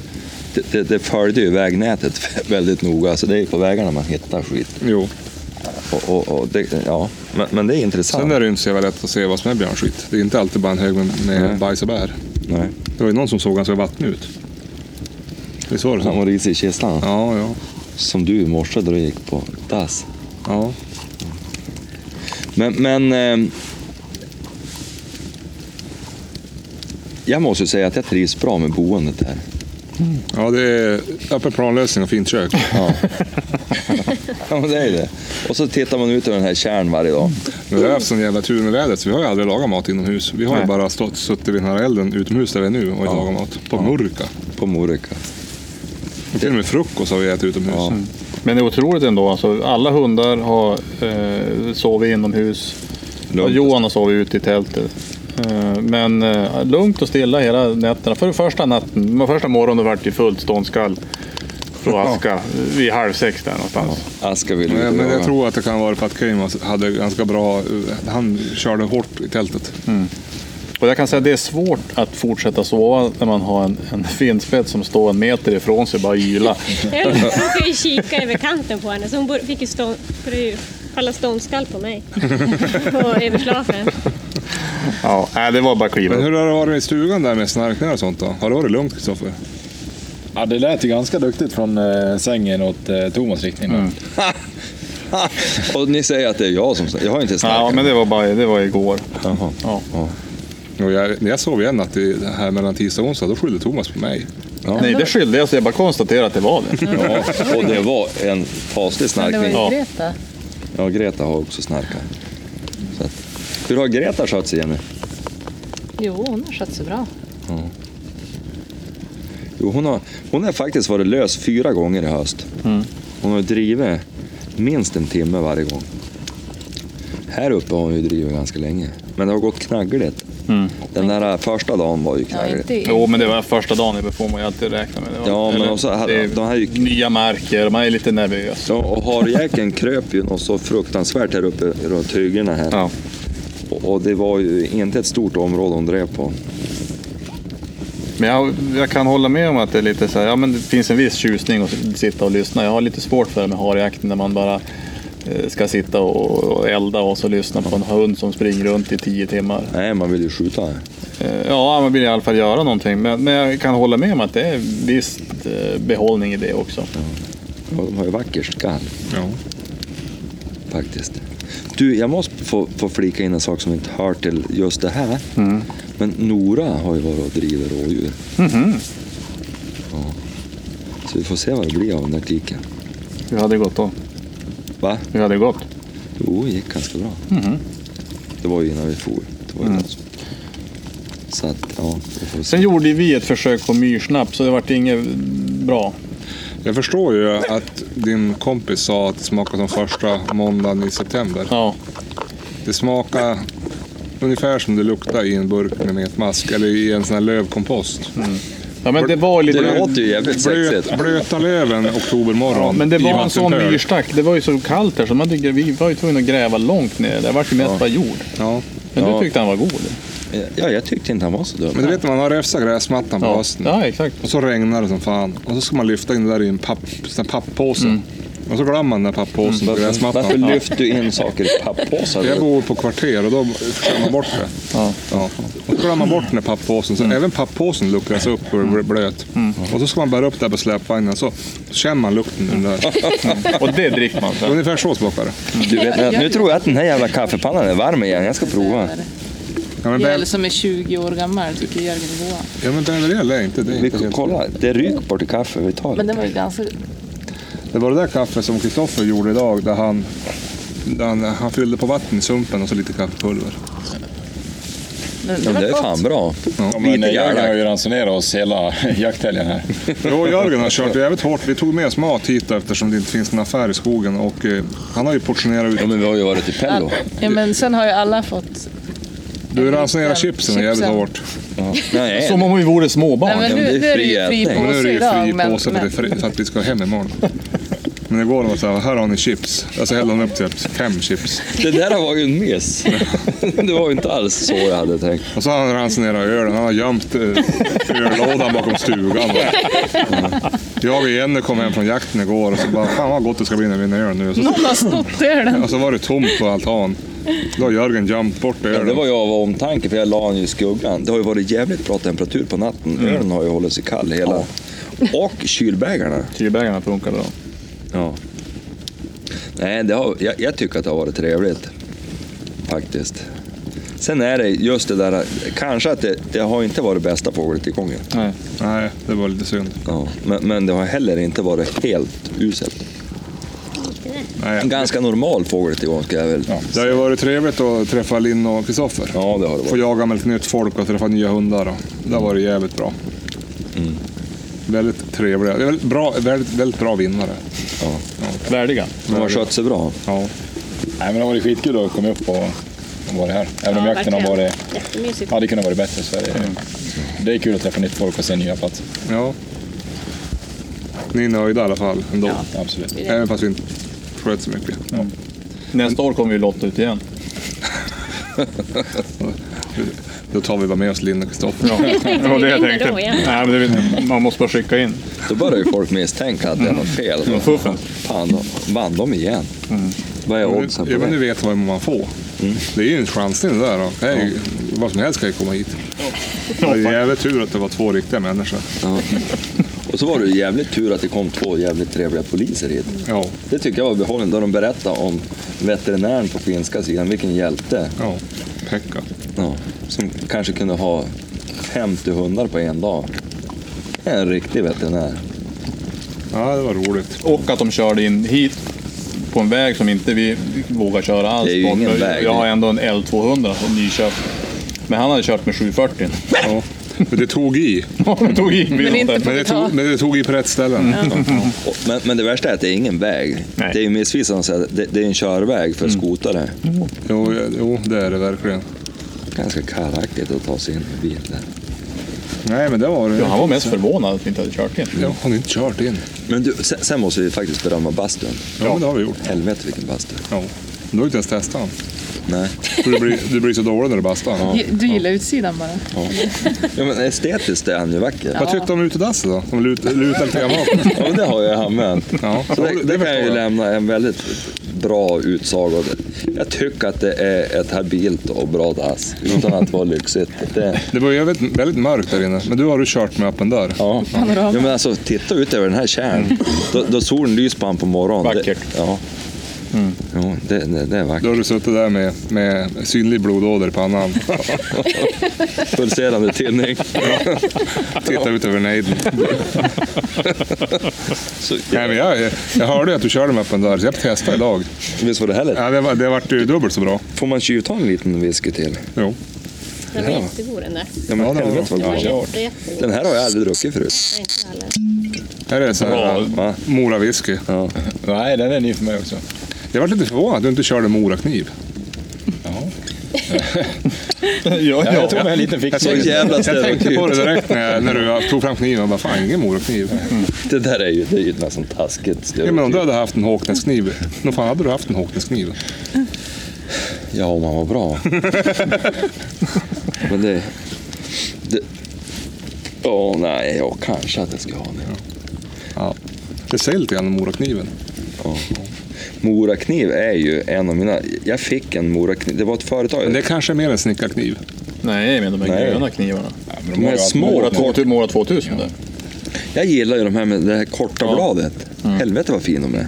Speaker 2: det, det, det följde ju vägnätet [laughs] väldigt noga, så det är ju på vägarna man hittar skit.
Speaker 3: Jo.
Speaker 2: Och, och, och det, ja. men, men det är intressant.
Speaker 3: Sen är det ju inte så jävla lätt att se vad som är björnskit. Det är inte alltid bara en hög med,
Speaker 2: Nej.
Speaker 3: med bajs och bär.
Speaker 2: Nej.
Speaker 3: Det var ju någon som såg ganska vattnig ut. Det såg det
Speaker 2: Han
Speaker 3: som.
Speaker 2: var risig i kistan,
Speaker 3: Ja, ja.
Speaker 2: som du i morse då du gick på dass.
Speaker 3: ja.
Speaker 2: Men, men ehm, jag måste ju säga att jag trivs bra med boendet här. [laughs]
Speaker 3: Ja, det är öppen planlösning och fint kök.
Speaker 2: Ja. ja, men det är ju det. Och så tittar man ut över den här tjärn varje dag.
Speaker 3: Men Vi har haft sån jävla tur med vädret så vi har ju aldrig lagat mat inomhus. Vi har ju
Speaker 1: Nej.
Speaker 3: bara stått, suttit vid den här elden utomhus där vi är nu och
Speaker 2: Ja.
Speaker 3: lagat mat. På Murka.
Speaker 2: På Moruka.
Speaker 3: Och till och med frukost har vi ätit utomhus.
Speaker 2: Ja.
Speaker 1: Men det är otroligt ändå. Alltså, alla hundar har eh, sovit inomhus. Och
Speaker 2: Lugnt.
Speaker 1: Johan har sovit ute i tältet. Eh, Men eh, lugnt och stilla hela nätterna. För första natten, men första morgonen vart det fullt ståndskall från Aska vid halv sex där någonstans.
Speaker 2: Aska vill
Speaker 3: Men,
Speaker 2: inte
Speaker 3: men jag
Speaker 2: jaga.
Speaker 3: tror att det kan vara för att Keyman hade ganska bra... Han körde hårt i tältet.
Speaker 1: Och jag kan säga att det är svårt att fortsätta sova när man har en, en finspett som står en meter ifrån sig och bara [laughs] ylar.
Speaker 4: Jag råkade ju kika över kanten på henne så hon bor- fick ju stånd, för det är ju falla ståndskall på mig. och över slafen.
Speaker 1: Ja, nej, det var bara att kliva
Speaker 3: Men
Speaker 1: upp.
Speaker 3: hur har det varit i stugan där med snarkningar och sånt då? Har det varit lugnt Kristoffer?
Speaker 5: Ja, det lät ju ganska duktigt från eh, sängen åt eh, Thomas riktning. då.
Speaker 2: Och ni säger att det är jag som Jag har inte snackat.
Speaker 1: Ja, men det var, bara, det var igår.
Speaker 2: Jaha.
Speaker 1: Ja.
Speaker 3: Och jag, när jag sov igen att det här mellan tisdag och onsdag, då skyllde Thomas på mig.
Speaker 1: Nej, det skyllde jag så jag bara konstaterade att det var det.
Speaker 2: Ja, och det var en faslig
Speaker 6: Men det var
Speaker 2: snarkning.
Speaker 1: Ja.
Speaker 6: ju Greta.
Speaker 2: Ja, Greta har också snarkat. Så att, hur har Greta skött sig Jenny?
Speaker 6: Jo, hon har skött sig bra.
Speaker 2: Jo, hon, har, hon har faktiskt varit lös fyra gånger i höst. Hon har drivit minst en timme varje gång. Här uppe har hon ju drivit ganska länge. Men det har gått knaggligt. Den där äh, första dagen var ju
Speaker 6: Ja,
Speaker 2: knaggligt.
Speaker 6: inte i-
Speaker 1: Jo, men det var första dagen i får man ju alltid räkna med. Det var,
Speaker 2: Ja, men
Speaker 1: eller,
Speaker 2: också här-
Speaker 1: det är
Speaker 2: de här gick-
Speaker 1: Nya marker, man är lite nervös.
Speaker 2: Ja, och harjäkeln kröp ju något så fruktansvärt här uppe runt hyggena här.
Speaker 1: Ja.
Speaker 2: Och, och det var ju inte ett stort område hon drev på.
Speaker 1: Men jag, jag kan hålla med om att det är lite så här, ja men det finns en viss tjusning att sitta och lyssna. Jag har lite svårt för det med harjakten när man bara eh, ska sitta och och elda och så lyssna på en hund som springer runt i tio timmar.
Speaker 2: Nej, man vill ju skjuta här.
Speaker 1: Eh, Ja, man vill i alla fall göra någonting. Men, men jag kan hålla med om att det är viss behållning i det också.
Speaker 2: Och de har ju vackert skall
Speaker 3: Ja.
Speaker 2: faktiskt. Du, jag måste få, få flika in en sak som inte hör till just det här. Men Nora har ju varit och drivit rådjur. Mm-hmm. Ja. Så vi får se vad det blir av den där tiken.
Speaker 1: Hur hade det gått då?
Speaker 2: Va?
Speaker 1: Hur hade det gått?
Speaker 2: Jo, det gick ganska bra. Det var ju innan vi for. Det var ju något sånt. Så att, ja, vi får se.
Speaker 1: Sen gjorde vi ett försök på myrsnapp så det vart inget bra.
Speaker 3: Jag förstår ju att din kompis sa att det smakade som första måndagen i september.
Speaker 1: Ja.
Speaker 3: Det smakar ungefär som det luktar i en burk med metmask eller i en sån här lövkompost.
Speaker 1: Ja, men Mm. det var lite...
Speaker 2: Det låter ju jävligt sexigt.
Speaker 3: Blöt, blöta löven oktobermorgon
Speaker 1: Ja, men det
Speaker 3: i
Speaker 1: var en sån
Speaker 3: vattenpöl.
Speaker 1: myrstack. Det var ju så kallt här så man tyckte, vi var ju tvungna att gräva långt ner. Det var ju mest bara jord.
Speaker 3: Ja.
Speaker 1: Men
Speaker 2: Ja.
Speaker 1: du tyckte han var god.
Speaker 2: Ja, jag tyckte inte han var så dum.
Speaker 3: Men du vet när man har räfsat gräsmattan på
Speaker 1: Ja,
Speaker 3: hösten.
Speaker 1: ja exakt.
Speaker 3: Och så regnar det som fan. Och så ska man lyfta in det där i en papp, sån här papppåse.
Speaker 1: Mm.
Speaker 3: Och så glömmer man den här papppåsen på
Speaker 2: varför, varför
Speaker 3: gräsmattan.
Speaker 2: lyfter du in saker i pappåsar?
Speaker 3: Jag bor på kvarter och då glömmer man bort det.
Speaker 1: Ja.
Speaker 3: Ja. Och så glömmer man bort den här papppåsen. Så även papppåsen luckras upp och blir blöt. Och så ska man bära upp det här på släpvagnen. Så känner man lukten ur den där.
Speaker 1: Och det dricker man.
Speaker 2: [laughs]
Speaker 1: sen.
Speaker 3: Ungefär så smakar det.
Speaker 2: [laughs] Du vet, nu tror jag att den här jävla kaffepannan är varm igen. Jag ska prova.
Speaker 3: Ja men
Speaker 6: Jell
Speaker 3: bäver
Speaker 6: som är 20 år gammal tycker Jörgen är god.
Speaker 3: ja, men bäverel är inte det. Är
Speaker 2: Vi
Speaker 3: inte
Speaker 2: kan
Speaker 3: helt...
Speaker 2: kolla, det ryker bort i kaffe. Vi tar
Speaker 6: Men
Speaker 2: det.
Speaker 6: den var ju ganska...
Speaker 3: Det var det där kaffet som Kristoffer gjorde idag. Där han, där han, han fyllde på vatten i sumpen och så lite kaffepulver.
Speaker 6: Men
Speaker 2: Ja, men det är
Speaker 6: var
Speaker 2: fan bra. Lite
Speaker 5: Jörgen har
Speaker 2: gärna.
Speaker 5: ju ransonerat oss hela [laughs] jakthelgen här.
Speaker 3: Jo, Jörgen har kört jävligt hårt. Vi tog med oss mat hit eftersom det inte finns någon affär i skogen. Och eh, han har ju portionerat ut.
Speaker 2: Ja, men vi har ju varit i Pello.
Speaker 6: Ja, men sen har ju alla fått...
Speaker 3: Du ransonerar chipsen jävligt
Speaker 6: Chipsen.
Speaker 3: hårt.
Speaker 2: Nej,
Speaker 1: Som om vi vore småbarn.
Speaker 6: Nej, men
Speaker 2: det är
Speaker 6: nu, nu är det ju
Speaker 2: fri
Speaker 6: fri
Speaker 2: ätning.
Speaker 3: Men nu är det
Speaker 6: påse
Speaker 3: ju
Speaker 6: idag.
Speaker 3: fri
Speaker 6: men-
Speaker 3: påse för, det är
Speaker 6: men-
Speaker 3: fri, för att vi ska hem imorgon. Men igår var det så här, här har ni chips. Alltså hällde han upp typ fem chips.
Speaker 2: det där var ju en miss. [laughs] Det var ju inte alls så jag hade tänkt.
Speaker 3: Och så har han ransonerat ölen. Han har gömt eh, öllådan bakom stugan. Jag och Jenny kom hem från jakten igår och så bara, fan vad gott det ska bli när vi vinner öl nu. Och så,
Speaker 6: Någon har snott ölen.
Speaker 3: och så var det tomt på altan. Då har Jörgen gömt bort
Speaker 2: Ja,
Speaker 3: ölen.
Speaker 2: det var ju av omtanke, för jag la den ju i skuggan. Det har ju varit jävligt bra temperatur på natten. Ölen har ju hållit sig kall hela. Och kylbägarna.
Speaker 1: Kylbägarna funkar bra.
Speaker 2: Ja. Nej, det har, jag, jag tycker att det har varit trevligt. Faktiskt. Sen är det just det där, kanske att det, det har inte varit bästa fågeltillgången.
Speaker 1: Nej.
Speaker 3: Nej, det var lite synd.
Speaker 2: Ja. Men, men det har heller inte varit helt uselt. En
Speaker 3: Nej.
Speaker 2: ganska normal fågeltillgång ska jag väl... Ja,
Speaker 3: Det har ju varit trevligt att träffa Linn och Kristoffer.
Speaker 2: det har det
Speaker 3: Få
Speaker 2: varit.
Speaker 3: jaga med lite nytt folk och träffa nya hundar. Då. Det har varit jävligt bra.
Speaker 2: Mm.
Speaker 3: Väldigt trevliga. Det är väldigt Bra, väldigt, väldigt bra vinnare.
Speaker 2: Ja.
Speaker 1: Värdiga.
Speaker 2: De har skött sig bra.
Speaker 3: Ja.
Speaker 5: Nej, men det har varit skitkul att komma upp och och vara här. Även om
Speaker 4: Ja,
Speaker 5: jakten har
Speaker 4: verkligen.
Speaker 5: varit,
Speaker 4: Jättemysigt.
Speaker 5: hade kunnat vara bättre så är det, det är kul att träffa nytt folk och se nya platser.
Speaker 3: ja. Ni är nöjda i alla fall ändå.
Speaker 4: Ja.
Speaker 5: Absolut.
Speaker 3: Även fast vi inte sköt så mycket.
Speaker 1: Nästa år kommer vi lotta ut igen.
Speaker 3: Då tar vi bara med oss Linn och Kristoffer.
Speaker 1: Ja, det var det jag
Speaker 4: Vinner då, ja.
Speaker 1: tänkte. Nej, men det, man måste bara skicka in.
Speaker 2: Då börjar ju folk misstänka att det är något fel.
Speaker 1: Ja, fuffen.
Speaker 2: Fan, vann de igen? Vad är oddsen på
Speaker 3: Ja, men nu
Speaker 2: Mm. det? Mm.
Speaker 3: vet vad man får. Det är ju en chansning det där. Då. Hej, Vad som helst kan ju komma hit. Det var jävligt tur att det var två riktiga människor.
Speaker 2: Ja. Och så var det ju jävligt tur att det kom två jävligt trevliga poliser hit.
Speaker 3: Ja.
Speaker 2: Det tycker jag var behållande, då de berättade om veterinären på finska sidan, vilken hjälte.
Speaker 3: ja. Pekka.
Speaker 2: Ja. Som kanske kunde ha 50 hundar på en dag. En riktig veterinär.
Speaker 3: Ja, det var roligt.
Speaker 1: Och att de körde in hit på en väg som inte vi vågar köra alls.
Speaker 2: Det är ju
Speaker 1: på.
Speaker 2: ingen
Speaker 1: För
Speaker 2: väg.
Speaker 1: Jag har ändå en L200 som nyköpt. Men han hade kört med 740. [laughs]
Speaker 3: Ja. Men det tog i.
Speaker 1: Han tog i bilen.
Speaker 6: inte
Speaker 3: Men det tog, men det tog i på rätt ställen.
Speaker 2: Och- Men, men det värsta är att det är ingen väg.
Speaker 1: Nej.
Speaker 2: Det är ju missvisande att säga att det, det är en körväg för skotare.
Speaker 3: Jo, jo, det är det verkligen.
Speaker 2: Ganska karackigt att ta sig in med bil där.
Speaker 3: Nej, men det var det.
Speaker 1: Ja, han var mest förvånad att vi inte hade kört in.
Speaker 3: Ja, har ni inte kört in?
Speaker 2: Men du, sen, sen måste vi faktiskt berömma bastun.
Speaker 3: Ja, men det har vi gjort.
Speaker 2: Helvete vilken bastu.
Speaker 3: Ja. Du har inte ens testat den.
Speaker 2: Nej.
Speaker 3: För Du blir, du blir så dålig när du bastar.
Speaker 6: Du gillar utsidan bara.
Speaker 2: Ja, men estetiskt är han ju vacker.
Speaker 3: Vad tyckte du om utedasset då? De lut, lutar lite grann bakåt.
Speaker 2: [laughs] Ja, men det har jag använt.
Speaker 3: Ja,
Speaker 2: Så det, det kan jag ju lämna en väldigt bra utsaga. Jag tycker att det är ett habilt och bra dass utan att vara lyxigt. Det,
Speaker 3: Det var ju väldigt, väldigt mörkt där inne, men du har du kört med öppen dörr.
Speaker 2: ja. ja, men alltså titta ut över den här tjärn. Då, då solen lyser på han på morgonen.
Speaker 1: Vackert.
Speaker 2: Det, ja. Jo, det, det, det är
Speaker 3: Då
Speaker 2: vackert.
Speaker 3: har du suttit där med, med synlig blodåder i
Speaker 2: [laughs]
Speaker 3: pannan.
Speaker 2: Pulserande tinning.
Speaker 3: Tittar ut över nejden.
Speaker 2: Så,
Speaker 3: Nej, men jag, jag hörde ju att du körde med öppen dörr, så jag testade idag.
Speaker 2: Visst var det härligt?
Speaker 3: Ja, det, var, det vart ju dubbelt så bra.
Speaker 2: Får man tjuvta en liten whisky till?
Speaker 3: Jo.
Speaker 4: Den var jättegod den där.
Speaker 2: Ja, men
Speaker 3: Ja, det var
Speaker 2: helvete vad
Speaker 4: Den var
Speaker 2: bra.
Speaker 4: jätte, jättegod.
Speaker 2: Den här har jag aldrig druckit förut.
Speaker 4: Nej, inte heller.
Speaker 3: Här är så här,
Speaker 2: Va?
Speaker 3: Mora whisky.
Speaker 2: Ja.
Speaker 5: Nej, den är ny för mig också.
Speaker 3: Jag vart lite förvånad att du inte körde Morakniv.
Speaker 1: Ja, ja.
Speaker 5: Jag tog med en liten
Speaker 2: Så
Speaker 5: fixning.
Speaker 2: jävla
Speaker 3: Jag tänkte
Speaker 2: stereotyp.
Speaker 3: på det direkt när, jag- när du tog fram kniven. Jag bara, fan ingen Morakniv.
Speaker 2: Det där är ju, det är ju nästan taskigt
Speaker 3: Ja,
Speaker 2: stereotyp.
Speaker 3: men om du hade haft en Håknäskniv, nog fan hade du haft en Håknäskniv.
Speaker 2: Ja, om han var bra. Men det... det Åh nej, ja, kanske att jag ska ha det.
Speaker 3: Ja. Det säger lite grann om Morakniven.
Speaker 2: Ja. Morakniv är ju en av mina... Jag fick en morakniv. Det var ett
Speaker 3: Men
Speaker 2: företag.
Speaker 3: det kanske är mer en snickarkniv.
Speaker 1: Nej, men de här
Speaker 2: Nej.
Speaker 1: gröna knivarna.
Speaker 5: Ja, men
Speaker 2: De
Speaker 5: har
Speaker 2: är
Speaker 5: ju allt
Speaker 2: små.
Speaker 5: möjligt.
Speaker 1: Mora 2000, Mora 2000 där.
Speaker 2: Jag gillar ju de här med det här korta bladet.
Speaker 3: Mm.
Speaker 2: Helvete vad fin de är.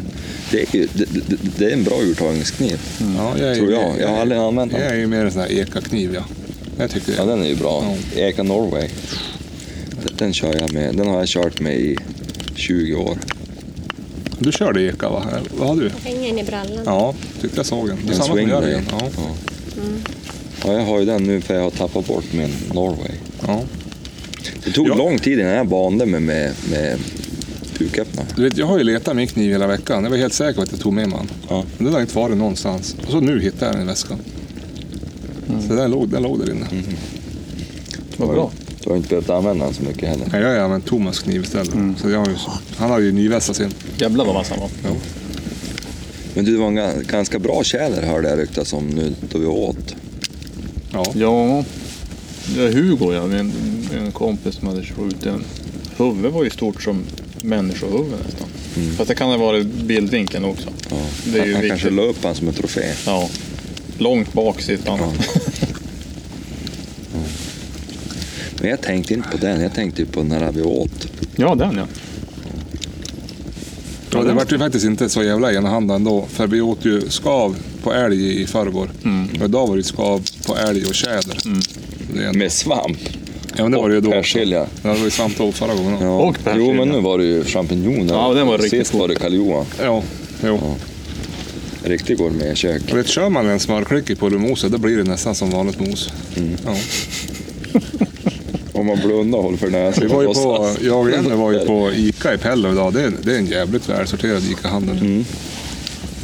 Speaker 2: Det är, ju, det, det, det är en bra urtagningskniv,
Speaker 3: Ja, Mm. jag är,
Speaker 2: tror jag. Jag har aldrig använt
Speaker 3: Jag
Speaker 2: den.
Speaker 3: är ju mer en sån här ekakniv, ja. Jag tycker
Speaker 2: Ja,
Speaker 3: det.
Speaker 2: den är ju bra. Eka Norway. Den- Den kör jag med. Den har jag kört med i 20 år.
Speaker 3: Du körde eka, va? Eh, Vad har du?
Speaker 4: Hänger in i brallan.
Speaker 3: Ja, Mm. tyckte jag såg en. Det är
Speaker 2: En
Speaker 3: samma som
Speaker 2: swing
Speaker 3: jag
Speaker 2: där.
Speaker 3: igen. Ja.
Speaker 2: Ja. Ja, jag har ju den nu för jag har tappat bort min Norway.
Speaker 3: Ja.
Speaker 2: Det tog
Speaker 3: Ja.
Speaker 2: lång tid innan jag vande mig med, med puköppnare.
Speaker 3: Du vet, jag har ju letat min kniv hela veckan. Jag var helt säker på att jag tog med mig den.
Speaker 2: Ja.
Speaker 3: Men den har inte varit någonstans. Och så nu hittade jag den i väskan.
Speaker 2: Mm.
Speaker 3: Så den låg, den låg där inne.
Speaker 1: Vad bra.
Speaker 2: Du har inte behövt använda den så mycket heller.
Speaker 3: Nej, Jag har ju använt Thomas kniv istället.
Speaker 2: Mm.
Speaker 3: Så jag har ju, han har ju nyvässat sin.
Speaker 1: Jävlar vad vass han var.
Speaker 2: Men du, det var en ga- ganska bra tjäder hörde jag ryktas om nu då vi åt.
Speaker 3: Ja.
Speaker 1: Ja, det är Hugo ja, min, min kompis som hade skjutit en. Huvudet var ju stort som människohuvud nästan. Fast det kan ha varit bildvinkeln också.
Speaker 2: Ja.
Speaker 1: Det är ju
Speaker 2: han kanske
Speaker 1: viktigt.
Speaker 2: la upp den som ett trofé.
Speaker 1: Ja. Långt bak sitter han.
Speaker 2: Men jag tänkte inte på den, jag tänkte ju på den här vi åt.
Speaker 1: Ja, den ja.
Speaker 3: Ja, det vart ju faktiskt inte så jävla enahanda ändå. För vi åt ju skav på älg i förrgår.
Speaker 2: Mm.
Speaker 3: Och idag var det ju skav på älg och tjäder. Det är en-
Speaker 2: Med svamp
Speaker 3: Ja, men det var det ju då.
Speaker 2: Mm. och
Speaker 3: också.
Speaker 2: persilja.
Speaker 3: Ja, det var ju svamp då förra gången. också.
Speaker 2: Ja.
Speaker 1: Och persilja.
Speaker 2: Jo, men nu var det ju champinjoner.
Speaker 1: Ja, den var riktigt
Speaker 2: Sist var det karl
Speaker 3: Ja, jo.
Speaker 2: Riktigt gourmetkök.
Speaker 3: Och det kör man en smörklick i pulvermoset, då blir det nästan som vanligt mos.
Speaker 2: Mm.
Speaker 3: Ja.
Speaker 2: Om man blundar och håller för näsan.
Speaker 3: Vi var ju
Speaker 2: och
Speaker 3: på,
Speaker 2: låtsas.
Speaker 3: jag och Jenny var ju på ICA i Pello idag. Det är, det är en jävligt välsorterad ICA-handel.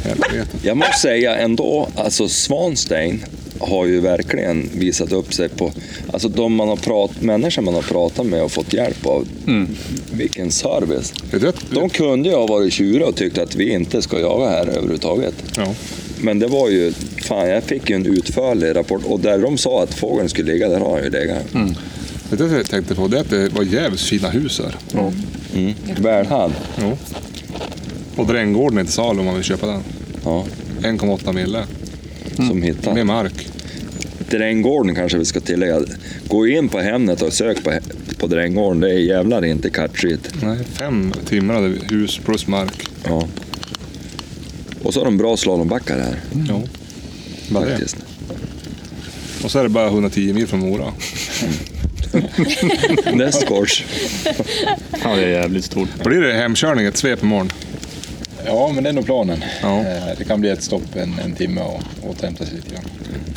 Speaker 3: Helvete.
Speaker 2: Jag måste säga ändå, alltså Svanstein har ju verkligen visat upp sig på, alltså de man har prat, människor man har pratat med och fått hjälp av. Vilken service!
Speaker 3: Vet du att-
Speaker 2: De kunde ju ha varit tjuriga och tyckt att vi inte ska jaga här överhuvudtaget.
Speaker 3: Ja.
Speaker 2: Men det var ju, fan jag fick ju en utförlig rapport och där de sa att fågeln skulle ligga, där har han ju legat.
Speaker 3: Vet du vad jag tänkte på? Det är att det var jävligt fina hus här.
Speaker 2: Mm. Välhand.
Speaker 3: Jo. Och Dränggården är till salu om man vill köpa den.
Speaker 2: Ja,
Speaker 3: 1,8 mille
Speaker 5: Mm.
Speaker 2: som hittade.
Speaker 3: med mark.
Speaker 2: Dränggården kanske vi ska tillägga. Gå in på Hemnet och sök på, på Dränggården, det är jävlar inte catchigt.
Speaker 3: Nej, fem timrade hus plus mark.
Speaker 2: Ja. Och så har de bra slalombackar här
Speaker 5: Mm.
Speaker 3: Ja. Bara det.
Speaker 2: faktiskt.
Speaker 3: Och så är det bara 110 mil från Mora.
Speaker 2: Nästgårds.
Speaker 1: Ja, det är jävligt stort.
Speaker 3: Blir det hemkörning ett svep imorgon?
Speaker 5: Ja, men det är nog planen.
Speaker 3: Ja.
Speaker 5: Eh, Det kan bli ett stopp en, en timme och återhämta sig lite grann.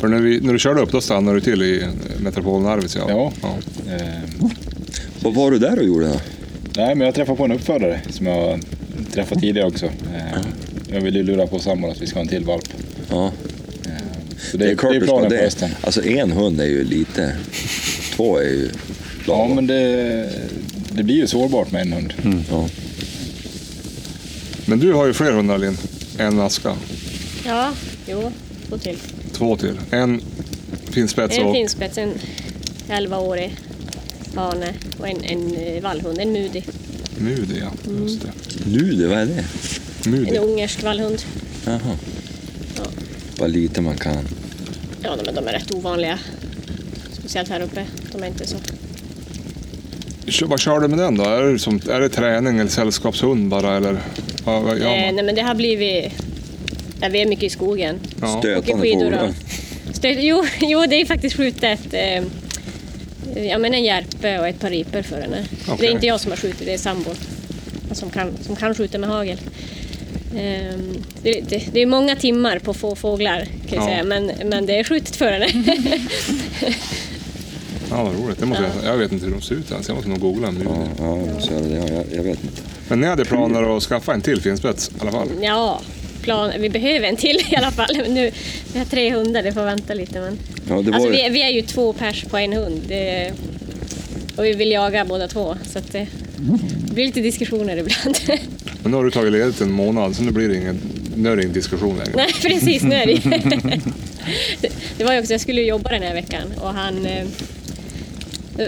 Speaker 3: För när, vi, när du körde upp då stannade du till i metropolen Arvidsjaur.
Speaker 5: Ja.
Speaker 3: ja.
Speaker 5: Eh,
Speaker 2: Vad var du där och gjorde då?
Speaker 5: Nej, men jag träffade på en uppfödare som jag träffat tidigare också. Eh, Jag ville ju lura på sambon att vi ska ha en till valp.
Speaker 2: Ja.
Speaker 5: Så det, är- det är
Speaker 2: du
Speaker 5: planen
Speaker 2: ska
Speaker 5: på
Speaker 2: det.
Speaker 5: hösten.
Speaker 2: Alltså en hund är ju lite, två är ju
Speaker 5: Ja,
Speaker 2: lagom.
Speaker 5: men det, det blir ju sårbart med en hund.
Speaker 2: Ja.
Speaker 3: Men du har ju fler hundar Linn. En aska.
Speaker 4: Ja, jo, två till.
Speaker 3: Två till. En finspets
Speaker 4: En
Speaker 3: och...
Speaker 4: finspets, en 11-årig hane och en, en eh, vallhund, en mudi.
Speaker 3: Mudi, ja. Just det.
Speaker 2: Nu det, vad är det?
Speaker 4: En
Speaker 3: Mudi.
Speaker 4: ungersk vallhund.
Speaker 2: Jaha.
Speaker 4: Ja.
Speaker 2: Vad lite man kan.
Speaker 4: Ja, de, de är rätt ovanliga. Speciellt här uppe. De är inte så...
Speaker 3: Kör- Vad kör du med den då? Är det, som, är det träning eller sällskapshund bara? Eller, ja, vad gör
Speaker 4: eh,
Speaker 3: man?
Speaker 4: nej, men det har blivit... Ja, vi är mycket i skogen.
Speaker 3: Ja.
Speaker 4: Åker
Speaker 2: Stötande
Speaker 4: skidor
Speaker 2: fåglar.
Speaker 4: och... Stöt, jo, [laughs] jo, det är faktiskt skjutet eh, ja, men en järpe och ett par riper för henne. Det
Speaker 3: Okej.
Speaker 4: är inte jag som har skjutit, det är sambon. Han Som kan, som kan skjuta med hagel. Ehm, det, det, det är många timmar på få fåglar kan jag
Speaker 3: Ja.
Speaker 4: säga, men, men det är skjutet för henne. [laughs]
Speaker 3: Ja, vad roligt. Det måste jag, jag vet inte hur de ser ut ens. Jag måste nog googla Mudi.
Speaker 2: Ja, ja, så är det. Ja, jag, jag vet inte.
Speaker 3: Men ni hade planer att skaffa en till finspets i alla fall?
Speaker 4: ja, plan, vi behöver en till i alla fall. Nu, vi har tre hundar, det får vänta lite. Men...
Speaker 2: Ja, det var
Speaker 4: Alltså,
Speaker 2: ju-
Speaker 4: vi, är- vi är ju två pers på en hund. Det, och vi vill jaga båda två. Så att det, det blir lite diskussioner ibland. [laughs]
Speaker 3: Men nu har du tagit ledigt en månad, så nu blir det ingen, nu är det ingen diskussion längre.
Speaker 4: Nej, precis. Nu är det ju. [laughs] Det- Det var ju också, jag skulle ju jobba den här veckan och han... eh,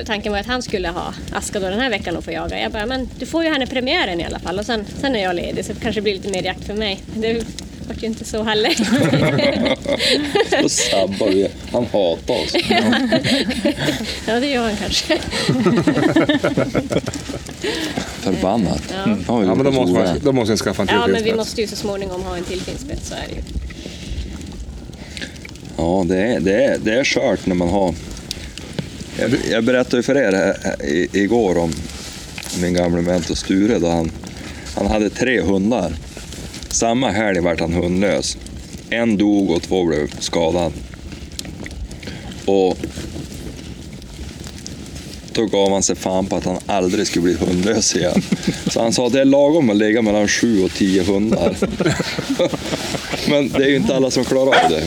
Speaker 4: Tanken var att han skulle ha Aska då den här veckan och få jaga. Jag bara, men du får ju henne premiären i alla fall och sen, sen är jag ledig så det kanske blir lite mer jakt för mig. Men Det vart ju inte så heller. [laughs]
Speaker 2: Då sabbar vi. Han hatar
Speaker 4: [laughs]
Speaker 2: oss.
Speaker 4: Ja, det gör han kanske.
Speaker 2: Förbannat. Ja, vi
Speaker 3: Ja, men då
Speaker 2: lyckas
Speaker 3: måste,
Speaker 2: roa.
Speaker 3: man, då måste jag skaffa en till
Speaker 4: Ja, men vi
Speaker 3: finspets.
Speaker 4: måste ju så småningom ha en till finspets, så är det ju.
Speaker 2: Ja, det är, det är, det är skört när man har... Jag, jag berättade ju för er eh, i, igår om min gamle mentor Sture. Då han, han hade tre hundar. Samma helg vart han hundlös. En dog och två blev skadade. Och då gav han sig fan på att han aldrig skulle bli hundlös igen. Så han sa att det är lagom att lägga mellan sju och tio hundar. [laughs] Men det är ju inte alla som klarar av det.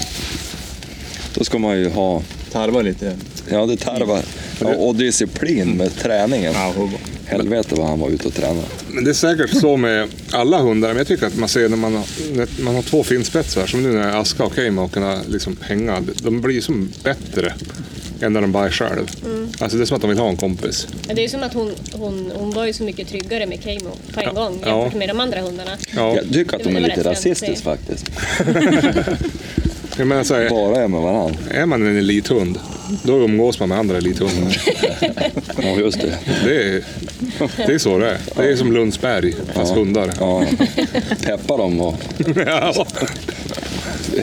Speaker 2: Då ska man ju ha,
Speaker 1: Tarva lite.
Speaker 2: ja det tarvar, ja, och disciplin med träningen.
Speaker 1: Ja, hugga.
Speaker 2: Helvete vad han var ute och tränade.
Speaker 3: Men det är säkert så med alla hundar, men jag tycker att man ser när man, har- när man har två finspetsar, som nu när Aska och Keimoken har liksom pengar, de blir som bättre än när de bara är själv. Alltså det är som att de vill ha en kompis.
Speaker 4: Men Det är ju som att hon, hon, hon var ju så mycket tryggare med Keimo på en gång
Speaker 3: Ja.
Speaker 4: jämfört med de andra hundarna.
Speaker 3: Ja,
Speaker 2: Jag tycker att de
Speaker 4: Det
Speaker 2: är lite
Speaker 4: var rätt skönt att
Speaker 2: rasistiska
Speaker 4: se.
Speaker 2: faktiskt.
Speaker 3: jag menar så här,
Speaker 2: Bara är med varandra.
Speaker 3: är man en elithund, då umgås man med andra elithundar.
Speaker 2: Ja, just det.
Speaker 3: Det är, det är så det är. Det är som Lundsberg, fast [laughs] hundar.
Speaker 2: Ja. Peppa dem och...
Speaker 3: Ja.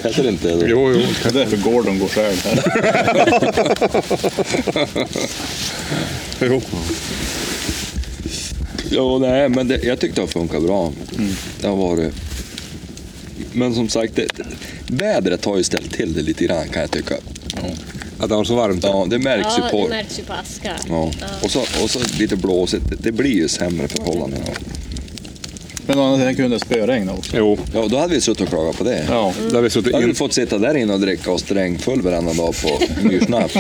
Speaker 2: Heter det inte det?
Speaker 3: Jo, jo.
Speaker 1: Det är därför Gordon går själv här.
Speaker 3: jo.
Speaker 2: Jo, nej, men det, jag tyckte det har funkat bra. Det har varit... Men som sagt, det, vädret har ju ställt till det lite grann kan jag tycka.
Speaker 3: Att det var så varmt.
Speaker 2: Ja, det märks
Speaker 4: Ja,
Speaker 2: ju
Speaker 4: det
Speaker 2: på...
Speaker 4: märks ju på Aska.
Speaker 2: Ja. Och, så, och så lite blåsigt. Det blir ju sämre förhållanden.
Speaker 1: Men å andra sidan kunde det spöregna också.
Speaker 3: Jo,
Speaker 2: Ja, då hade vi suttit och klagat på det.
Speaker 1: Ja.
Speaker 3: där har vi suttit
Speaker 2: Då hade vi
Speaker 3: in.
Speaker 2: fått sitta där inne och dricka oss drängfull varenda dag på myrsnaps.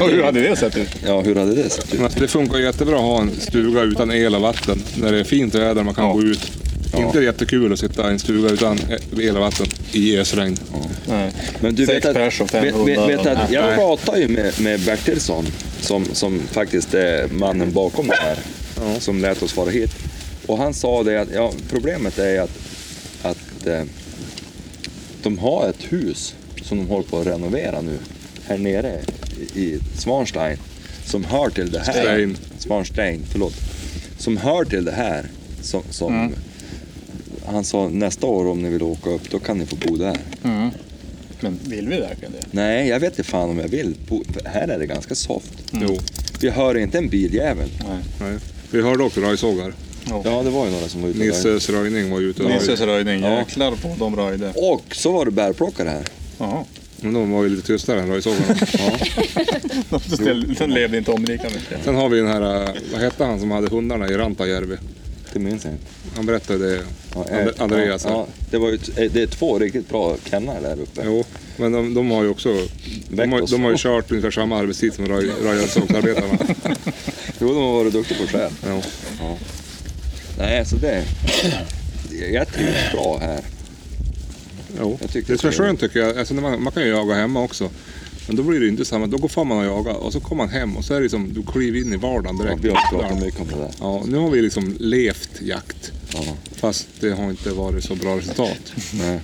Speaker 1: Och hur hade det sett ut?
Speaker 2: Ja, hur hade det sett ut?
Speaker 3: Men alltså, det funkar jättebra att ha en stuga utan el och vatten när det är fint väder och man kan gå ut. Inte jättekul att sitta i en stuga utan el och vatten i ösregn.
Speaker 1: Nej.
Speaker 2: Men du
Speaker 1: Sex
Speaker 2: vet att,
Speaker 1: pers och fem
Speaker 2: vet,
Speaker 1: hundar
Speaker 2: vet, vet
Speaker 1: och-
Speaker 2: att jag
Speaker 3: Nej.
Speaker 2: pratar ju med, med Bertilsson, som, som faktiskt är mannen bakom det här, som lät oss vara hit. Och han sa det att ja, problemet är att, att eh, de har ett hus som de håller på att renovera nu, här nere i, i Svanstein, som hör till det här.
Speaker 3: Stein.
Speaker 2: Svanstein, förlåt. Som hör till det här. Som, som,
Speaker 1: Mm.
Speaker 2: Han sa nästa år om ni vill åka upp, då kan ni få bo där.
Speaker 1: Men vill vi verkligen det?
Speaker 2: Nej, jag vet inte fan om jag vill. Bo- för Här är det ganska soft.
Speaker 3: Jo.
Speaker 2: Vi hör inte en biljävel.
Speaker 1: Nej.
Speaker 3: Nej. Vi hörde också röjsågar.
Speaker 2: Ja, det var ju några som var ute och röjde.
Speaker 3: Nisses röjning var ju ute och
Speaker 1: Nisses
Speaker 3: röjde.
Speaker 1: röjning,
Speaker 2: Ja.
Speaker 1: jäklar på de röjde.
Speaker 2: Och så var det bärplockare här.
Speaker 1: Jaha.
Speaker 3: Men de var ju lite tystare än röjsågarna.
Speaker 1: Den levde inte om lika mycket.
Speaker 3: Sen har vi den här, eh, vad hette han som hade hundarna i Rantajärvi?
Speaker 2: Det minns jag inte.
Speaker 3: Han berättade det,
Speaker 2: Ja, eh,
Speaker 3: And- Andreas.
Speaker 2: Ja, ja, det, var ju t- eh, det är två riktigt bra kennar där uppe.
Speaker 3: Jo, men de, de har ju också, de har, de har ju kört ungefär samma arbetstid som röj- röjarsågsarbetarna.
Speaker 2: Jo, de har varit duktiga på själv.
Speaker 3: Jo.
Speaker 2: Nej, så det... Jag trivs bra här.
Speaker 3: Jo.
Speaker 2: Jag tycker
Speaker 3: det är så
Speaker 2: det är-
Speaker 3: skönt tycker jag. Alltså, när man, man kan ju jaga hemma också. Men då blir det ju inte samma. Då går fan man och jagar och så kommer man hem och så är det som, du kliver in i vardagen
Speaker 2: Ja,
Speaker 3: direkt.
Speaker 2: vi har pratat mycket om det där.
Speaker 3: Ja, nu har vi liksom levt jakt.
Speaker 2: Ja.
Speaker 3: Fast det har inte varit så bra resultat.
Speaker 2: Nej.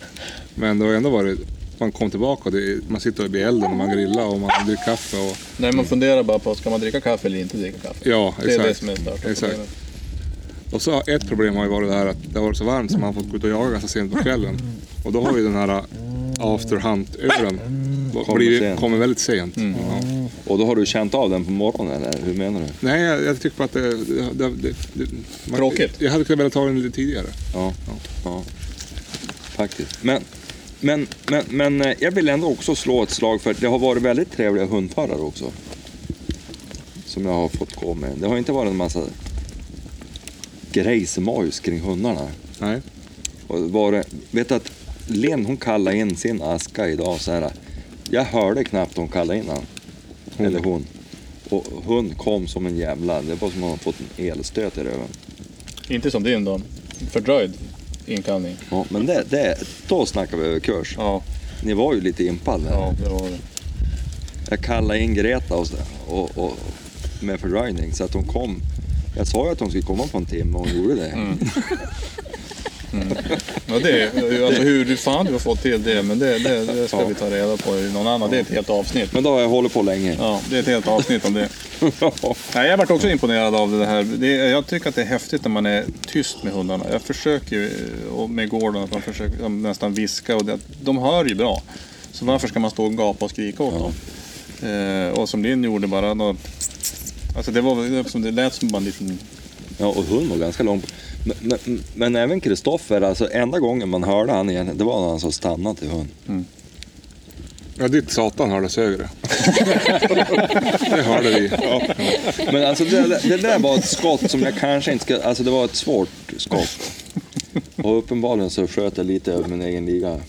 Speaker 3: Men det har ändå varit, man kom tillbaka och det, man sitter vid elden och man grillar och man dricker kaffe. Och,
Speaker 1: Nej, man funderar bara på, ska man dricka kaffe eller inte dricka kaffe?
Speaker 3: ja,
Speaker 1: Det är det
Speaker 3: exakt.
Speaker 1: som är största
Speaker 3: Exakt.
Speaker 1: problemet.
Speaker 3: Och så ett problem har ju varit det här att det har varit så varmt så man har fått gå ut och jaga ganska sent på kvällen. Och då har ju den här äh, after hunt-ölen
Speaker 2: Kommer
Speaker 3: blivit-
Speaker 2: sent. Mm.
Speaker 3: kommer väldigt sent. Ja.
Speaker 2: Och då har du känt av den på morgonen, eller hur menar du?
Speaker 3: Nej, jag, jag tycker bara att det... det, det, det man,
Speaker 1: Tråkigt.
Speaker 3: Jag hade kunnat velat ta den lite tidigare.
Speaker 2: Ja, ja. faktiskt. Men, men, men, men eh, jag vill ändå också slå ett slag för att det har varit väldigt trevliga hundförare också. Som jag har fått gå med. Det har inte varit en massa grejsemojs kring hundarna.
Speaker 3: Nej.
Speaker 2: Och var det, vet du att Len hon kallade in sin aska idag så här. Jag hörde knappt hon kallade in han. Eller hon. Och hon kom som en jävla, det var som om hon fått en elstöt i röven.
Speaker 1: Inte som din då. Fördröjd inkallning.
Speaker 2: Ja, men det, det, då snackar vi överkurs.
Speaker 1: Ja,
Speaker 2: Ni var ju lite impade.
Speaker 1: ja det var det.
Speaker 2: Jag kallade in Greta och, så- och, och, med fördröjning så att hon kom. Jag sa ju att hon skulle komma på en timme och hon gjorde det.
Speaker 1: Mm. Ja, det är, alltså, hur fan du har fått till det, men det, det, det ska
Speaker 2: Ja.
Speaker 1: vi ta reda på i någon annan. Det är ett helt avsnitt.
Speaker 2: Men då har jag hållit på länge.
Speaker 1: Ja, det är ett helt avsnitt
Speaker 3: [laughs]
Speaker 1: om det. Nej, jag varit också imponerad av det här. Det, är- jag tycker att det är häftigt när man är tyst med hundarna. Jag försöker ju eh, och med Gordon att man försöker de nästan viska och det, de hör ju bra. Så varför ska man stå och gapa och skrika åt dem? Eh, och som Linn gjorde bara något, Alltså det, var, väl- det, var som- det lät som bara en liten...
Speaker 2: Ja, och hon var ganska lång. Men, men, men även Kristoffer, alltså enda gången man hörde han igen, det var när han sa stanna till hund.
Speaker 3: Ja, ditt satan hördes högre. [laughs] det hörde vi.
Speaker 2: Men alltså det, där- det där var ett skott som jag kanske inte ska... Alltså det var ett svårt skott. Och uppenbarligen så sköt jag lite över min egen liga.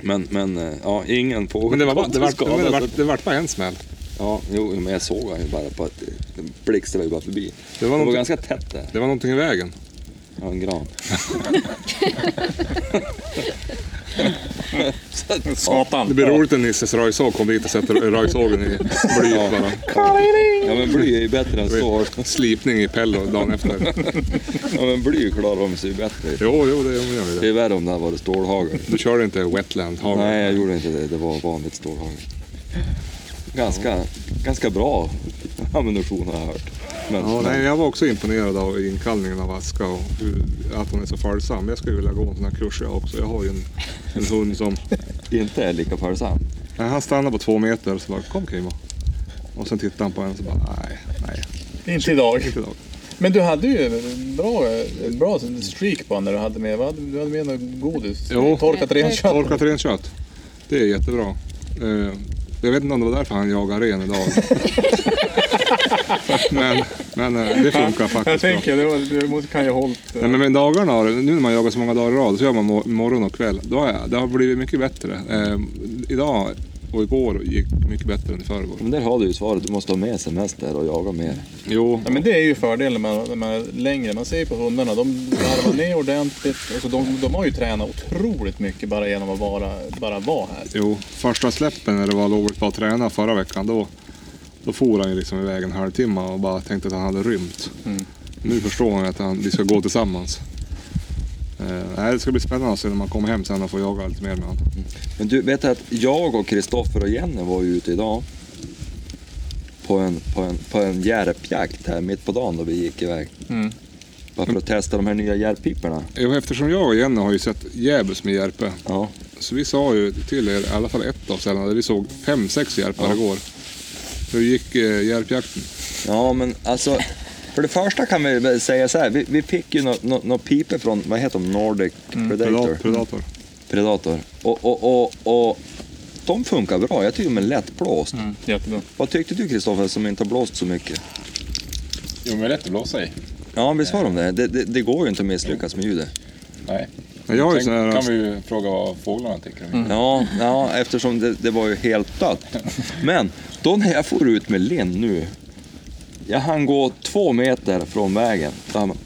Speaker 2: Men, men eh, ja, ingen på
Speaker 3: Men det var bara, det var, det var, det var,
Speaker 2: så-
Speaker 3: det var bara en smäll.
Speaker 2: Ja, jo, men jag såg han ju bara på att den blixtrade ju bara förbi.
Speaker 3: Det
Speaker 2: Det
Speaker 3: var
Speaker 2: var, det var
Speaker 3: något-
Speaker 2: ganska tätt där.
Speaker 3: Det var någonting i vägen.
Speaker 2: Ja,
Speaker 3: [laughs]
Speaker 2: en gran. så att,
Speaker 3: Det
Speaker 1: Satan.
Speaker 3: blir roligt när Nisses röjsåg kommer dit och sätter röjsågen i blyet bara.
Speaker 2: ja, men bly är ju bättre än stål.
Speaker 3: Slipning i pello dagen efter.
Speaker 2: Ja, men bly klarar de sig ju bättre.
Speaker 3: [laughs] Jo, jo, det gör vi.
Speaker 2: Det
Speaker 3: det.
Speaker 2: är värre om det hade varit stålhagel.
Speaker 3: Du körde inte wetland har du?
Speaker 2: Nej, jag gjorde inte det. Det var vanligt stålhagel. Ganska, ganska bra [laughs] ammunition har jag hört. Men,
Speaker 3: Ja,
Speaker 2: men,
Speaker 3: nej, jag var också imponerad av inkallningen av Aska och hur, att hon är så följsam. Jag skulle vilja gå en sån här kurs jag också. Jag har ju en, en hund som...
Speaker 2: inte är lika följsam.
Speaker 3: Nej, han stannar på två meter och så bara kom Kimo. Och sen tittar han på en och så bara nej, nej,
Speaker 1: Inte idag.
Speaker 3: inte idag.
Speaker 1: Men du hade ju en bra, en bra streak på när du hade med, vad hade- du hade med något godis.
Speaker 3: Jo.
Speaker 1: Torkat renkött.
Speaker 3: Torkat renkött. Det är jättebra. Eh, jag vet inte om det var därför han jagar ren idag. men men eh, det funkar
Speaker 1: Jag
Speaker 3: faktiskt bra.
Speaker 1: tänker, det, var, det måste- kan ju ha hållit.
Speaker 3: Nej, men med dagarna, har det- nu när man jagar så många dagar i rad, så gör man mor- morgon och kväll. Då har jag, det har blivit mycket bättre. Eh, idag och igår gick mycket bättre än i förrgår.
Speaker 2: Men där har du ju svaret. Du måste ha med semester och jaga mer.
Speaker 3: Jo,
Speaker 1: Ja, men det är ju fördelen med när man är längre. Man ser ju på hundarna, de varvar ner ordentligt. Alltså, de, de har ju tränat otroligt mycket bara genom att bara, bara vara här.
Speaker 3: jo, första släppen när det var lovligt bara att träna förra veckan, då, då for han ju liksom iväg en halvtimme och bara tänkte att han hade rymt.
Speaker 5: Mm.
Speaker 3: Nu förstår han att han, vi ska gå tillsammans. Eh, nej, det ska bli spännande att se när man kommer hem sen och får jaga lite mer med honom.
Speaker 5: Mm.
Speaker 2: Men du, vet att jag och Kristoffer och Jenny var ju ute idag på en, på en, på en järpjakt här mitt på dagen då vi gick iväg.
Speaker 1: Mm.
Speaker 2: Bara för att testa de här nya järppiporna.
Speaker 3: Jo, Eftersom jag och Jenny har ju sett Jäbus med Järpe,
Speaker 2: Ja.
Speaker 3: Så vi sa ju till er, i alla fall ett av ställena, där vi såg fem, sex järpar igår. Hur gick eh, järpjakten?
Speaker 2: ja, men alltså för det första kan vi väl säga så här. Vi, vi fick ju något no, no pipe från, vad heter de, Nordic Predator.
Speaker 3: Predator. Predator.
Speaker 2: Predator. Och, och, och, och de funkar bra. Jag tycker de är lättblåst.
Speaker 1: Mm. Jättebra.
Speaker 2: Vad tyckte du Kristoffer som inte har blåst så mycket?
Speaker 5: Jo, men det är lätt att blåsa i.
Speaker 2: Ja, visst var de det? Det, det? det går ju inte att misslyckas med ljudet.
Speaker 5: Nej.
Speaker 3: Men jag har ju
Speaker 5: Sen
Speaker 3: sån här- Mm.
Speaker 5: kan vi ju fråga vad fåglarna tycker. om det.
Speaker 2: Ja, ja eftersom det, det var ju helt dött. Men då när jag for ut med Linn nu. Jag hann gå två meter från vägen. Då han bara,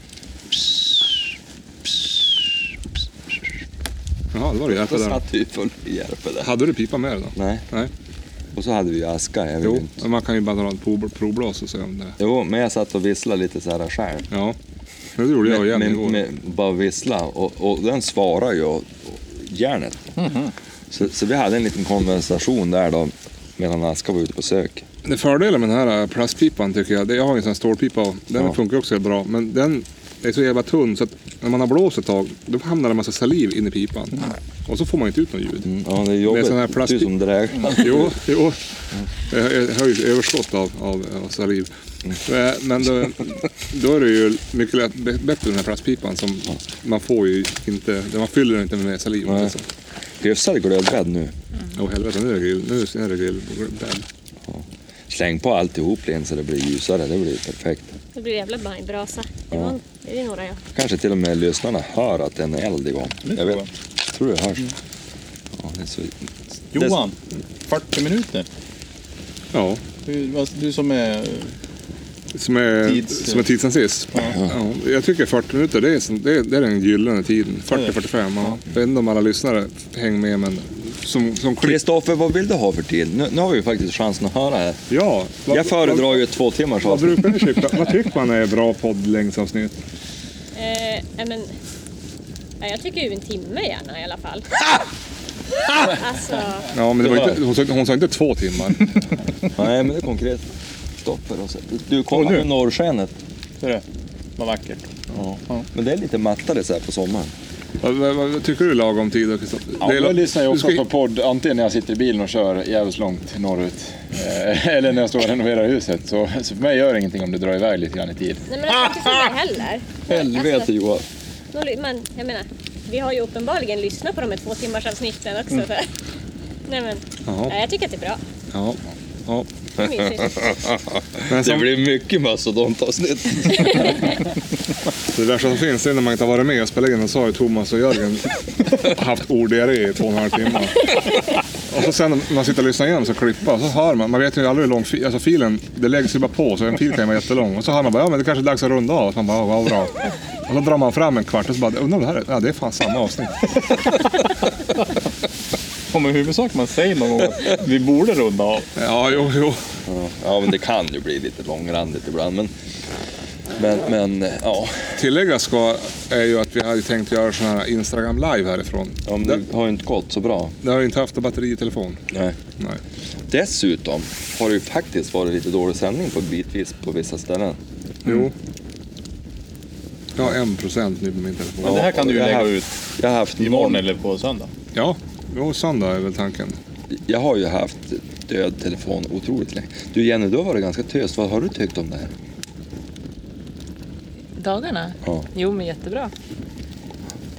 Speaker 3: Jaha, det var det järpar
Speaker 2: då
Speaker 3: där.
Speaker 2: satt vi full i Järpe där.
Speaker 3: Hade du pipa med dig då?
Speaker 2: Nej,
Speaker 3: Nej.
Speaker 2: och så hade vi ju aska. Jag jo.
Speaker 3: Jo, men man kan ju bara dra ett prov- provblås och se om det...
Speaker 2: jo, men jag satt och visslade lite så här själv.
Speaker 3: Ja. Det gjorde jag och Jenny
Speaker 2: men,
Speaker 3: igår.
Speaker 2: men, bara vissla och, och den svarar ju och- och järnet.
Speaker 3: Mhm.
Speaker 2: Så, så vi hade en liten konversation där då medan Aska var ute på sök.
Speaker 3: Det fördelen med den här eh, plastpipan tycker jag, det- jag har ju en sån här stålpipa och den
Speaker 2: Ja.
Speaker 3: funkar också bra. Men den är så jävla tunn så att när man har blåst ett tag, då hamnar det en massa saliv in i pipan. Och så får man inte ut något ljud.
Speaker 2: Mm, ja, det är
Speaker 3: Med
Speaker 2: jobbigt.
Speaker 3: sån här
Speaker 2: du
Speaker 3: plastik- Mm.
Speaker 2: som dräglar.
Speaker 3: Jo, jo.
Speaker 2: Mm.
Speaker 3: Jag jag har ju överskott av, av, av saliv.
Speaker 2: Mm.
Speaker 3: Eh, Men då, då är det ju mycket lätt, bä- bättre den här plastpipan som man får ju inte, man fyller den inte med saliv.
Speaker 2: Nej.
Speaker 3: Liksom.
Speaker 2: Hyfsad glödbädd nu.
Speaker 3: Åh helvete, nu är det grill, nu är det grill, grill.
Speaker 2: Släng på alltihop Linn så det blir ljusare, det blir perfekt.
Speaker 4: Det blir jävla bra- brasa. Det, var, det är ju några jag.
Speaker 2: Kanske till och med lyssnarna hör att det är en eld igång. Jag vet. Tror det
Speaker 3: Mm.
Speaker 2: hörs. Ja, det är så...
Speaker 1: Johan, 40 minuter.
Speaker 3: Ja,
Speaker 1: Du, vad- du som är...
Speaker 3: som är,
Speaker 1: Tids-
Speaker 3: som är tidsensist. Ja. jag tycker 40 minuter, det är, sån- det är, det är den gyllene tiden. 40-45. Ja. Jag vet inte om alla lyssnare hänger med, men som, som klipp.
Speaker 2: Kristoffer, vad vill du ha för tid? Nu, nu har vi ju faktiskt chansen att höra här.
Speaker 3: Ja, vad-
Speaker 2: Jag föredrar ju ett två timmars
Speaker 3: Vad, vad
Speaker 2: avsnitt.
Speaker 3: brukar ni tycka? Vad tycker man är bra poddlängdsavsnitt?
Speaker 4: Eh, nej, men, nej, jag tycker ju en timme gärna i
Speaker 2: [laughs]
Speaker 4: alla fall. alltså,
Speaker 3: Ja, men det var inte, hon, sa, hon sa inte två timmar.
Speaker 2: Nej, men det är konkret. Kristoffer och så. Du, kolla
Speaker 1: Och nu?
Speaker 2: på norrskenet.
Speaker 1: Ser du? Vad vackert.
Speaker 2: Men det är lite mattare så här på sommaren.
Speaker 3: vad, vad, vad tycker du är lagom tid då, Kristoffer?
Speaker 5: Ja,
Speaker 3: Det är
Speaker 5: jag
Speaker 3: la-
Speaker 5: lyssnar ju
Speaker 3: du
Speaker 5: också
Speaker 3: ska-
Speaker 5: på podd antingen när jag sitter i bilen och kör jävligt långt norrut. eh, [laughs] Eller när jag står och renoverar huset. Så, så för mig gör det ingenting om det drar iväg lite grann i tid.
Speaker 4: nej, men jag tycker inte det heller.
Speaker 2: Helvete Johan. Mm.
Speaker 4: Nå- Men jag menar, vi har ju uppenbarligen lyssnat på de här två timmars avsnitten också. Så. Nej, men,
Speaker 2: Jaha.
Speaker 4: nej, jag tycker att det är bra.
Speaker 2: Ja. ja.
Speaker 4: Det är mysigt.
Speaker 2: [laughs]
Speaker 3: Men
Speaker 2: Det
Speaker 3: som,
Speaker 2: blir mycket mastodontavsnitt.
Speaker 3: det värsta som finns är när man inte har varit med och spelat in. Och så har ju Thomas och Jörgen haft orddiarré i två och en halv timme. Och så sen när man sitter och lyssnar igenom så klippa och så hör man. Man vet ju aldrig hur lång fi, alltså filen, det läggs ju bara på så en fil kan ju vara jättelång. Och så hör man bara, ja men det kanske är dags att runda av. Och så man bara, ja, vad bra. Och så drar man fram en kvart och så bara, undrar om det här är, ja det är fan samma avsnitt.
Speaker 1: Om i huvudsak man säger någon gång att vi borde runda av.
Speaker 3: Ja, jo, jo.
Speaker 2: Ja, men det kan ju bli lite långrandigt ibland. Men, men, men ja.
Speaker 3: Tilläggas ska är ju att vi hade tänkt göra sådana här Instagram live härifrån.
Speaker 2: ja men
Speaker 3: det,
Speaker 2: det har ju inte gått så bra.
Speaker 3: det har ju inte haft batteri i telefon.
Speaker 2: Nej.
Speaker 3: Nej.
Speaker 2: Dessutom har det ju faktiskt varit lite dålig sändning på bitvis på vissa ställen.
Speaker 3: Jo. Jag har en procent nu på min telefon.
Speaker 1: Men det här kan du ju
Speaker 2: jag
Speaker 1: lägga
Speaker 2: har-
Speaker 1: ut
Speaker 2: Jag har haft
Speaker 1: imorgon
Speaker 2: noll-
Speaker 1: eller på söndag.
Speaker 3: Ja, jo, söndag är väl tanken.
Speaker 2: Jag har ju haft död telefon otroligt länge. Du Jenny, du har varit ganska tös. Vad har du tyckt om det här?
Speaker 6: Dagarna?
Speaker 2: Ja.
Speaker 6: Jo, men jättebra.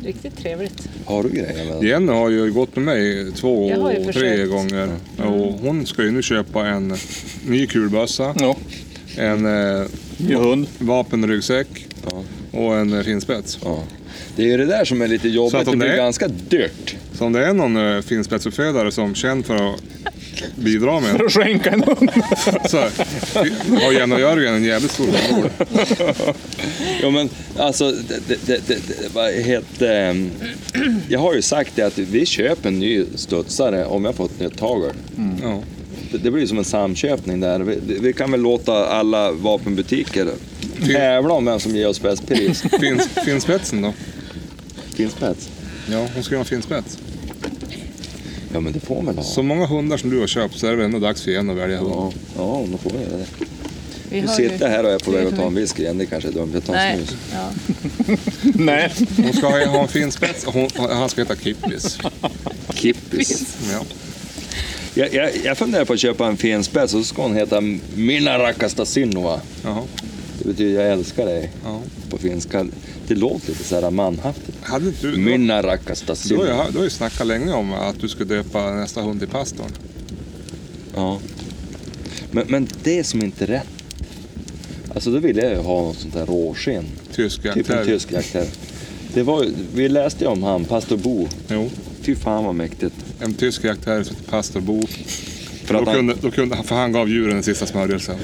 Speaker 6: Riktigt trevligt.
Speaker 2: Har du grejer med den?
Speaker 3: Jenny har ju gått med mig två,
Speaker 6: Jag har ju
Speaker 3: tre
Speaker 6: försökt. Mm.
Speaker 3: gånger. Och hon ska ju nu köpa en ny kulbössa,
Speaker 1: Ja,
Speaker 3: en eh,
Speaker 1: ju hund.
Speaker 3: vapenryggsäck
Speaker 2: Ja.
Speaker 3: och en eh, finspets.
Speaker 2: Ja. Det är ju det där som är lite
Speaker 3: Så
Speaker 2: jobbigt.
Speaker 3: att
Speaker 2: Det
Speaker 3: om
Speaker 2: blir
Speaker 3: det-
Speaker 2: ganska dyrt.
Speaker 3: Så om det är någon eh, finspetsuppfödare som är känd för att bidra med
Speaker 1: För att skänka en hund. [laughs]
Speaker 3: så har Jenny och Jörgen en jävligt stor roll.
Speaker 2: Ja, men alltså, det, det, det, det, vad heter, ehm, jag har ju sagt det att vi köper en ny studsare om jag får ett nytt tagel.
Speaker 3: Ja.
Speaker 2: Det, det blir ju som en samköpning där. Vi, vi kan väl låta alla vapenbutiker tävla om vem som ger oss
Speaker 3: [laughs]
Speaker 2: bäst pris.
Speaker 3: Fins, finspetsen då?
Speaker 2: Finns spets?
Speaker 3: Ja, hon ska ju ha en finspets.
Speaker 2: Ja, men det får man väl ha.
Speaker 3: Så många hundar som du har köpt så är det väl ändå dags för Jenny att välja hund.
Speaker 2: Ja, ja, då får jag det.
Speaker 6: Vi
Speaker 2: Du
Speaker 6: har ju-
Speaker 2: sitter här och jag är på väg att ta en
Speaker 6: vi-
Speaker 2: whisky igen. Det kanske är dumt. Jag tar en
Speaker 6: Nej,
Speaker 2: snus.
Speaker 6: ja.
Speaker 1: Nej,
Speaker 3: Hon ska ha ha en fin spets och hon, han ska heta Kippis.
Speaker 2: Kippis.
Speaker 3: Ja.
Speaker 2: Jag, jag, jag funderar på att köpa en fin spets och så ska hon heta Minna Rakastasinova.
Speaker 3: Jaha.
Speaker 2: Det betyder jag älskar dig
Speaker 3: Ja.
Speaker 2: på finska. Det låter lite så här manhaftigt.
Speaker 3: Hade inte du...
Speaker 2: Minna
Speaker 3: Du har, ju,
Speaker 2: Rakastasinova.
Speaker 3: du har ju snackat länge om att du ska döpa nästa hund till pastorn.
Speaker 2: Ja. Men, men det som inte är rätt. Alltså då ville jag ju ha något sånt där råskinn.
Speaker 3: Tysk
Speaker 2: Typ en
Speaker 3: jaktterrier.
Speaker 2: tysk jaktterrier. Det var ju, vi läste ju om han, pastor Bo.
Speaker 3: Jo,
Speaker 2: Fy fan vad mäktigt.
Speaker 3: en tysk jaktterrier som heter pastor Bo.
Speaker 2: För
Speaker 3: Då
Speaker 2: att han,
Speaker 3: kunde, då kunde, han- för han gav djuren den sista smörjelsen.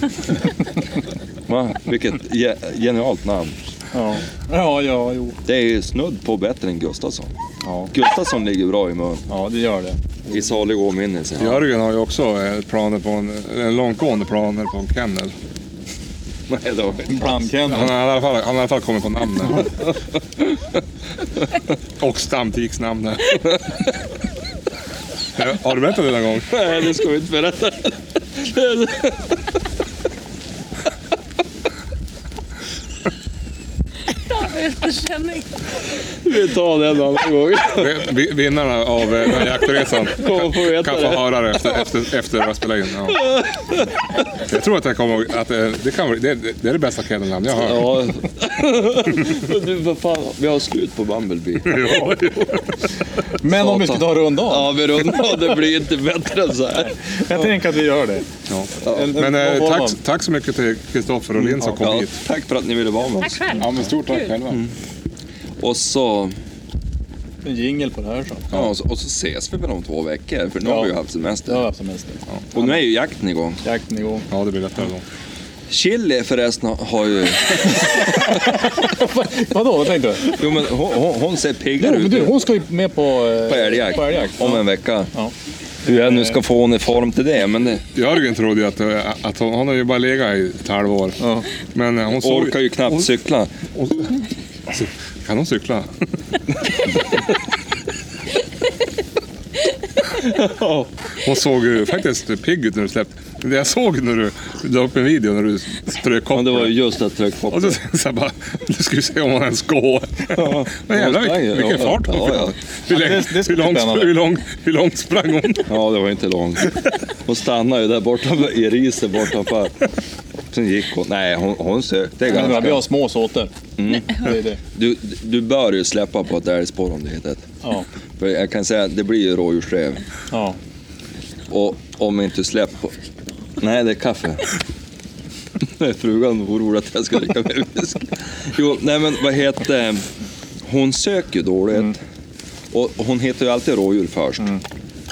Speaker 2: va? Vilket ge, genialt namn.
Speaker 1: Ja, ja, ja jo.
Speaker 2: Det är ju snudd på bättre än Gustafsson.
Speaker 1: Ja.
Speaker 2: Gustafsson ligger bra i mun.
Speaker 1: ja, det gör det.
Speaker 2: I salig åminnelse.
Speaker 3: Jörgen har ju också eh, planer på en, en långtgående planer på en kennel.
Speaker 2: [laughs] Nej, då.
Speaker 1: Blandkennel.
Speaker 3: Han har i alla fall, han har i alla fall kommit på [laughs] namnet. Och stamtiksnamnet. [laughs] Eh, Har du berättat det någon gång?
Speaker 2: Nej, det ska vi inte berätta. [laughs]
Speaker 6: Efterkänning.
Speaker 2: Vi tar det en annan gång.
Speaker 3: Vi- vi- Vinnarna av eh, den här jaktresan
Speaker 2: [laughs] Kommer få veta
Speaker 3: kan få
Speaker 2: det.
Speaker 3: höra det efter, efter, efter att jag spelat in. Ja. Jag tror att, jag kommer, att eh, det, kan, vara- det, det är det bästa kennelnamn jag har hört.
Speaker 2: [laughs] Ja. Men Du, vad fan, vi har slut på Bumblebee.
Speaker 3: [laughs]
Speaker 1: Men om vi ska ta runda av.
Speaker 2: Ja, vi rundar av. Det blir inte bättre än så här.
Speaker 1: Jag tänker att vi gör det. En- en-
Speaker 3: Men eh,
Speaker 1: vad var
Speaker 3: tack,
Speaker 1: man?
Speaker 3: tack så mycket till Kristoffer och Linn som kom
Speaker 2: Mm, Ja,
Speaker 3: hit.
Speaker 2: tack för att ni ville vara med
Speaker 4: Tack
Speaker 2: oss.
Speaker 4: själv.
Speaker 5: Ja, men stort tack
Speaker 4: Kul.
Speaker 5: själva.
Speaker 2: Och så,
Speaker 1: En jingel på det här så.
Speaker 2: ja, och så, och så ses vi väl om två veckor, för nu har vi ju haft
Speaker 1: Det
Speaker 2: semester.
Speaker 1: var som helst.
Speaker 2: Och nu är ju jakten igång.
Speaker 1: Jakten igång.
Speaker 3: Ja, det blir lättare då.
Speaker 2: Chili förresten har ju...
Speaker 1: Vadå, vad tänkte du?
Speaker 2: Jo, men hon, hon, hon ser
Speaker 1: Jo,
Speaker 2: piggare
Speaker 1: men
Speaker 2: ut.
Speaker 1: du, hon ska ju med på... eh,
Speaker 2: på älgjakt,
Speaker 1: På älgjakt.
Speaker 2: om
Speaker 1: Ja.
Speaker 2: en vecka.
Speaker 1: Ja.
Speaker 2: Hur jag nu ska få hon i form till det, men det
Speaker 3: Jörgen trodde ju att, eh, att hon, hon har ju bara legat i ett halvår. Men eh, hon såg,
Speaker 2: orkar ju knappt cykla.
Speaker 3: hon- Kan hon cykla? [laughs] Hon såg ju faktiskt pigg ut när du släppte. Det jag såg när du la upp en video när du strök
Speaker 2: Men det var ju
Speaker 3: kopplet.
Speaker 2: just att trycka på.
Speaker 3: Och så tänkte jag bara, nu ska vi se om hon ens går. [laughs] Men jävlar vilken, vilken fart hon
Speaker 2: Ja, ja.
Speaker 3: fick. Hur,
Speaker 1: Ja,
Speaker 3: länge,
Speaker 1: det- det ska
Speaker 3: hur,
Speaker 1: bli
Speaker 3: långt,
Speaker 1: spännande.
Speaker 3: hur, långt, hur långt sprang hon?
Speaker 2: Ja, det var inte långt. Hon stannade ju där borta i riset bortanför. Sen gick hon. Nej, hon, hon sökte
Speaker 1: Men det här, vi har
Speaker 2: ganska.
Speaker 1: små såter. Det är det.
Speaker 2: Du, du bör ju släppa på ett älgspår om det heter.
Speaker 1: Ja.
Speaker 2: För jag kan säga att det blir ju rådjursräv.
Speaker 1: ja.
Speaker 2: och om inte släpp på... Nej, det är kaffe. [laughs] Frugan var orolig att jag skulle dricka mer whisky. Jo, nej men vad heter det? Hon söker ju dåligt.
Speaker 1: Mm.
Speaker 2: Och hon heter ju alltid rådjur först.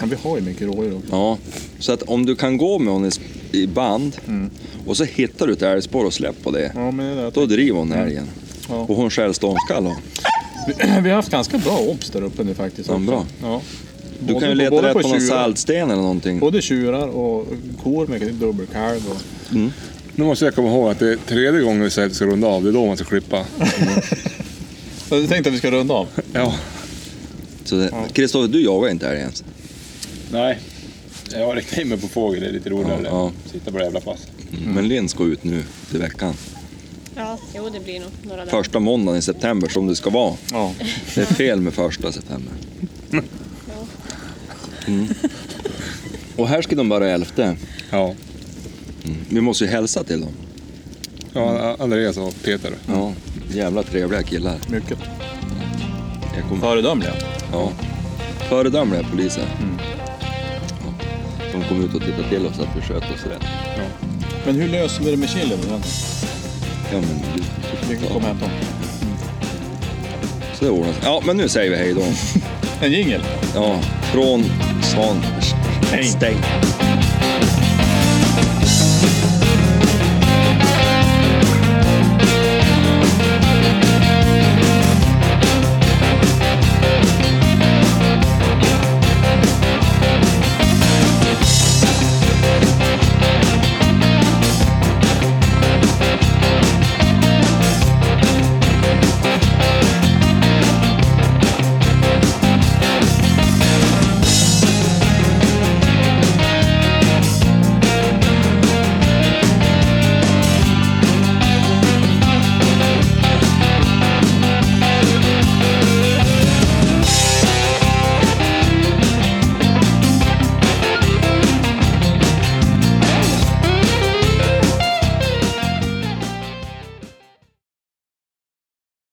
Speaker 1: Ja, vi har ju mycket rådjur också.
Speaker 2: Ja, så att om du kan gå med hon i sp- i band
Speaker 1: Mm.
Speaker 2: och så hittar du ett älgspår och släpp på det.
Speaker 1: Ja, men det är det.
Speaker 2: Då driver hon älgen.
Speaker 1: Ja.
Speaker 2: Och hon stjäl ståndskall. och-
Speaker 1: Vi har haft ganska bra obs där uppe nu faktiskt.
Speaker 2: Ja,
Speaker 1: också.
Speaker 2: bra.
Speaker 1: Ja.
Speaker 2: Du
Speaker 1: Både
Speaker 2: kan ju leta
Speaker 1: både
Speaker 2: rätt på någon
Speaker 1: tjurar-
Speaker 2: saltsten eller någonting.
Speaker 1: Både tjurar och kor med dubbelkalv. Och...
Speaker 3: Nu måste jag komma ihåg att det är tredje gången vi säger att vi ska runda av. Det är då man ska klippa.
Speaker 1: Jag tänkte att vi ska runda av.
Speaker 3: Ja.
Speaker 2: Så det- Kristoffer, du jagar inte älg ens?
Speaker 5: Nej, jag har riktat in mig på fågel. Det är lite roligare.
Speaker 2: Ja, ja.
Speaker 5: Sitta på det jävla passet.
Speaker 1: Mm.
Speaker 2: Men Linn ska ut nu till veckan.
Speaker 4: Ja, jo, det blir nog några dagar.
Speaker 2: Första måndagen i september som det ska vara.
Speaker 1: Ja.
Speaker 2: Det är fel med första september. Mm. Och här ska de börja elfte.
Speaker 3: Ja.
Speaker 2: Vi måste ju hälsa till dem.
Speaker 3: ja Andreas och Peter.
Speaker 2: Ja, jävla trevliga killar.
Speaker 1: Mycket.
Speaker 2: Jag kommer
Speaker 1: Föredömliga.
Speaker 2: Ja. Föredömliga poliser. Ja. De kom ut och tittade till oss att vi sköt oss rätt.
Speaker 1: Men hur löser vi det med chilin? Vänta,
Speaker 2: Ja, men du,
Speaker 1: Vi kan komma hem dem.
Speaker 2: så det ordnar sig. Ja, men nu säger vi hej då.
Speaker 1: En jingel.
Speaker 2: Ja, från Svan.
Speaker 1: Hej.
Speaker 2: Stäng.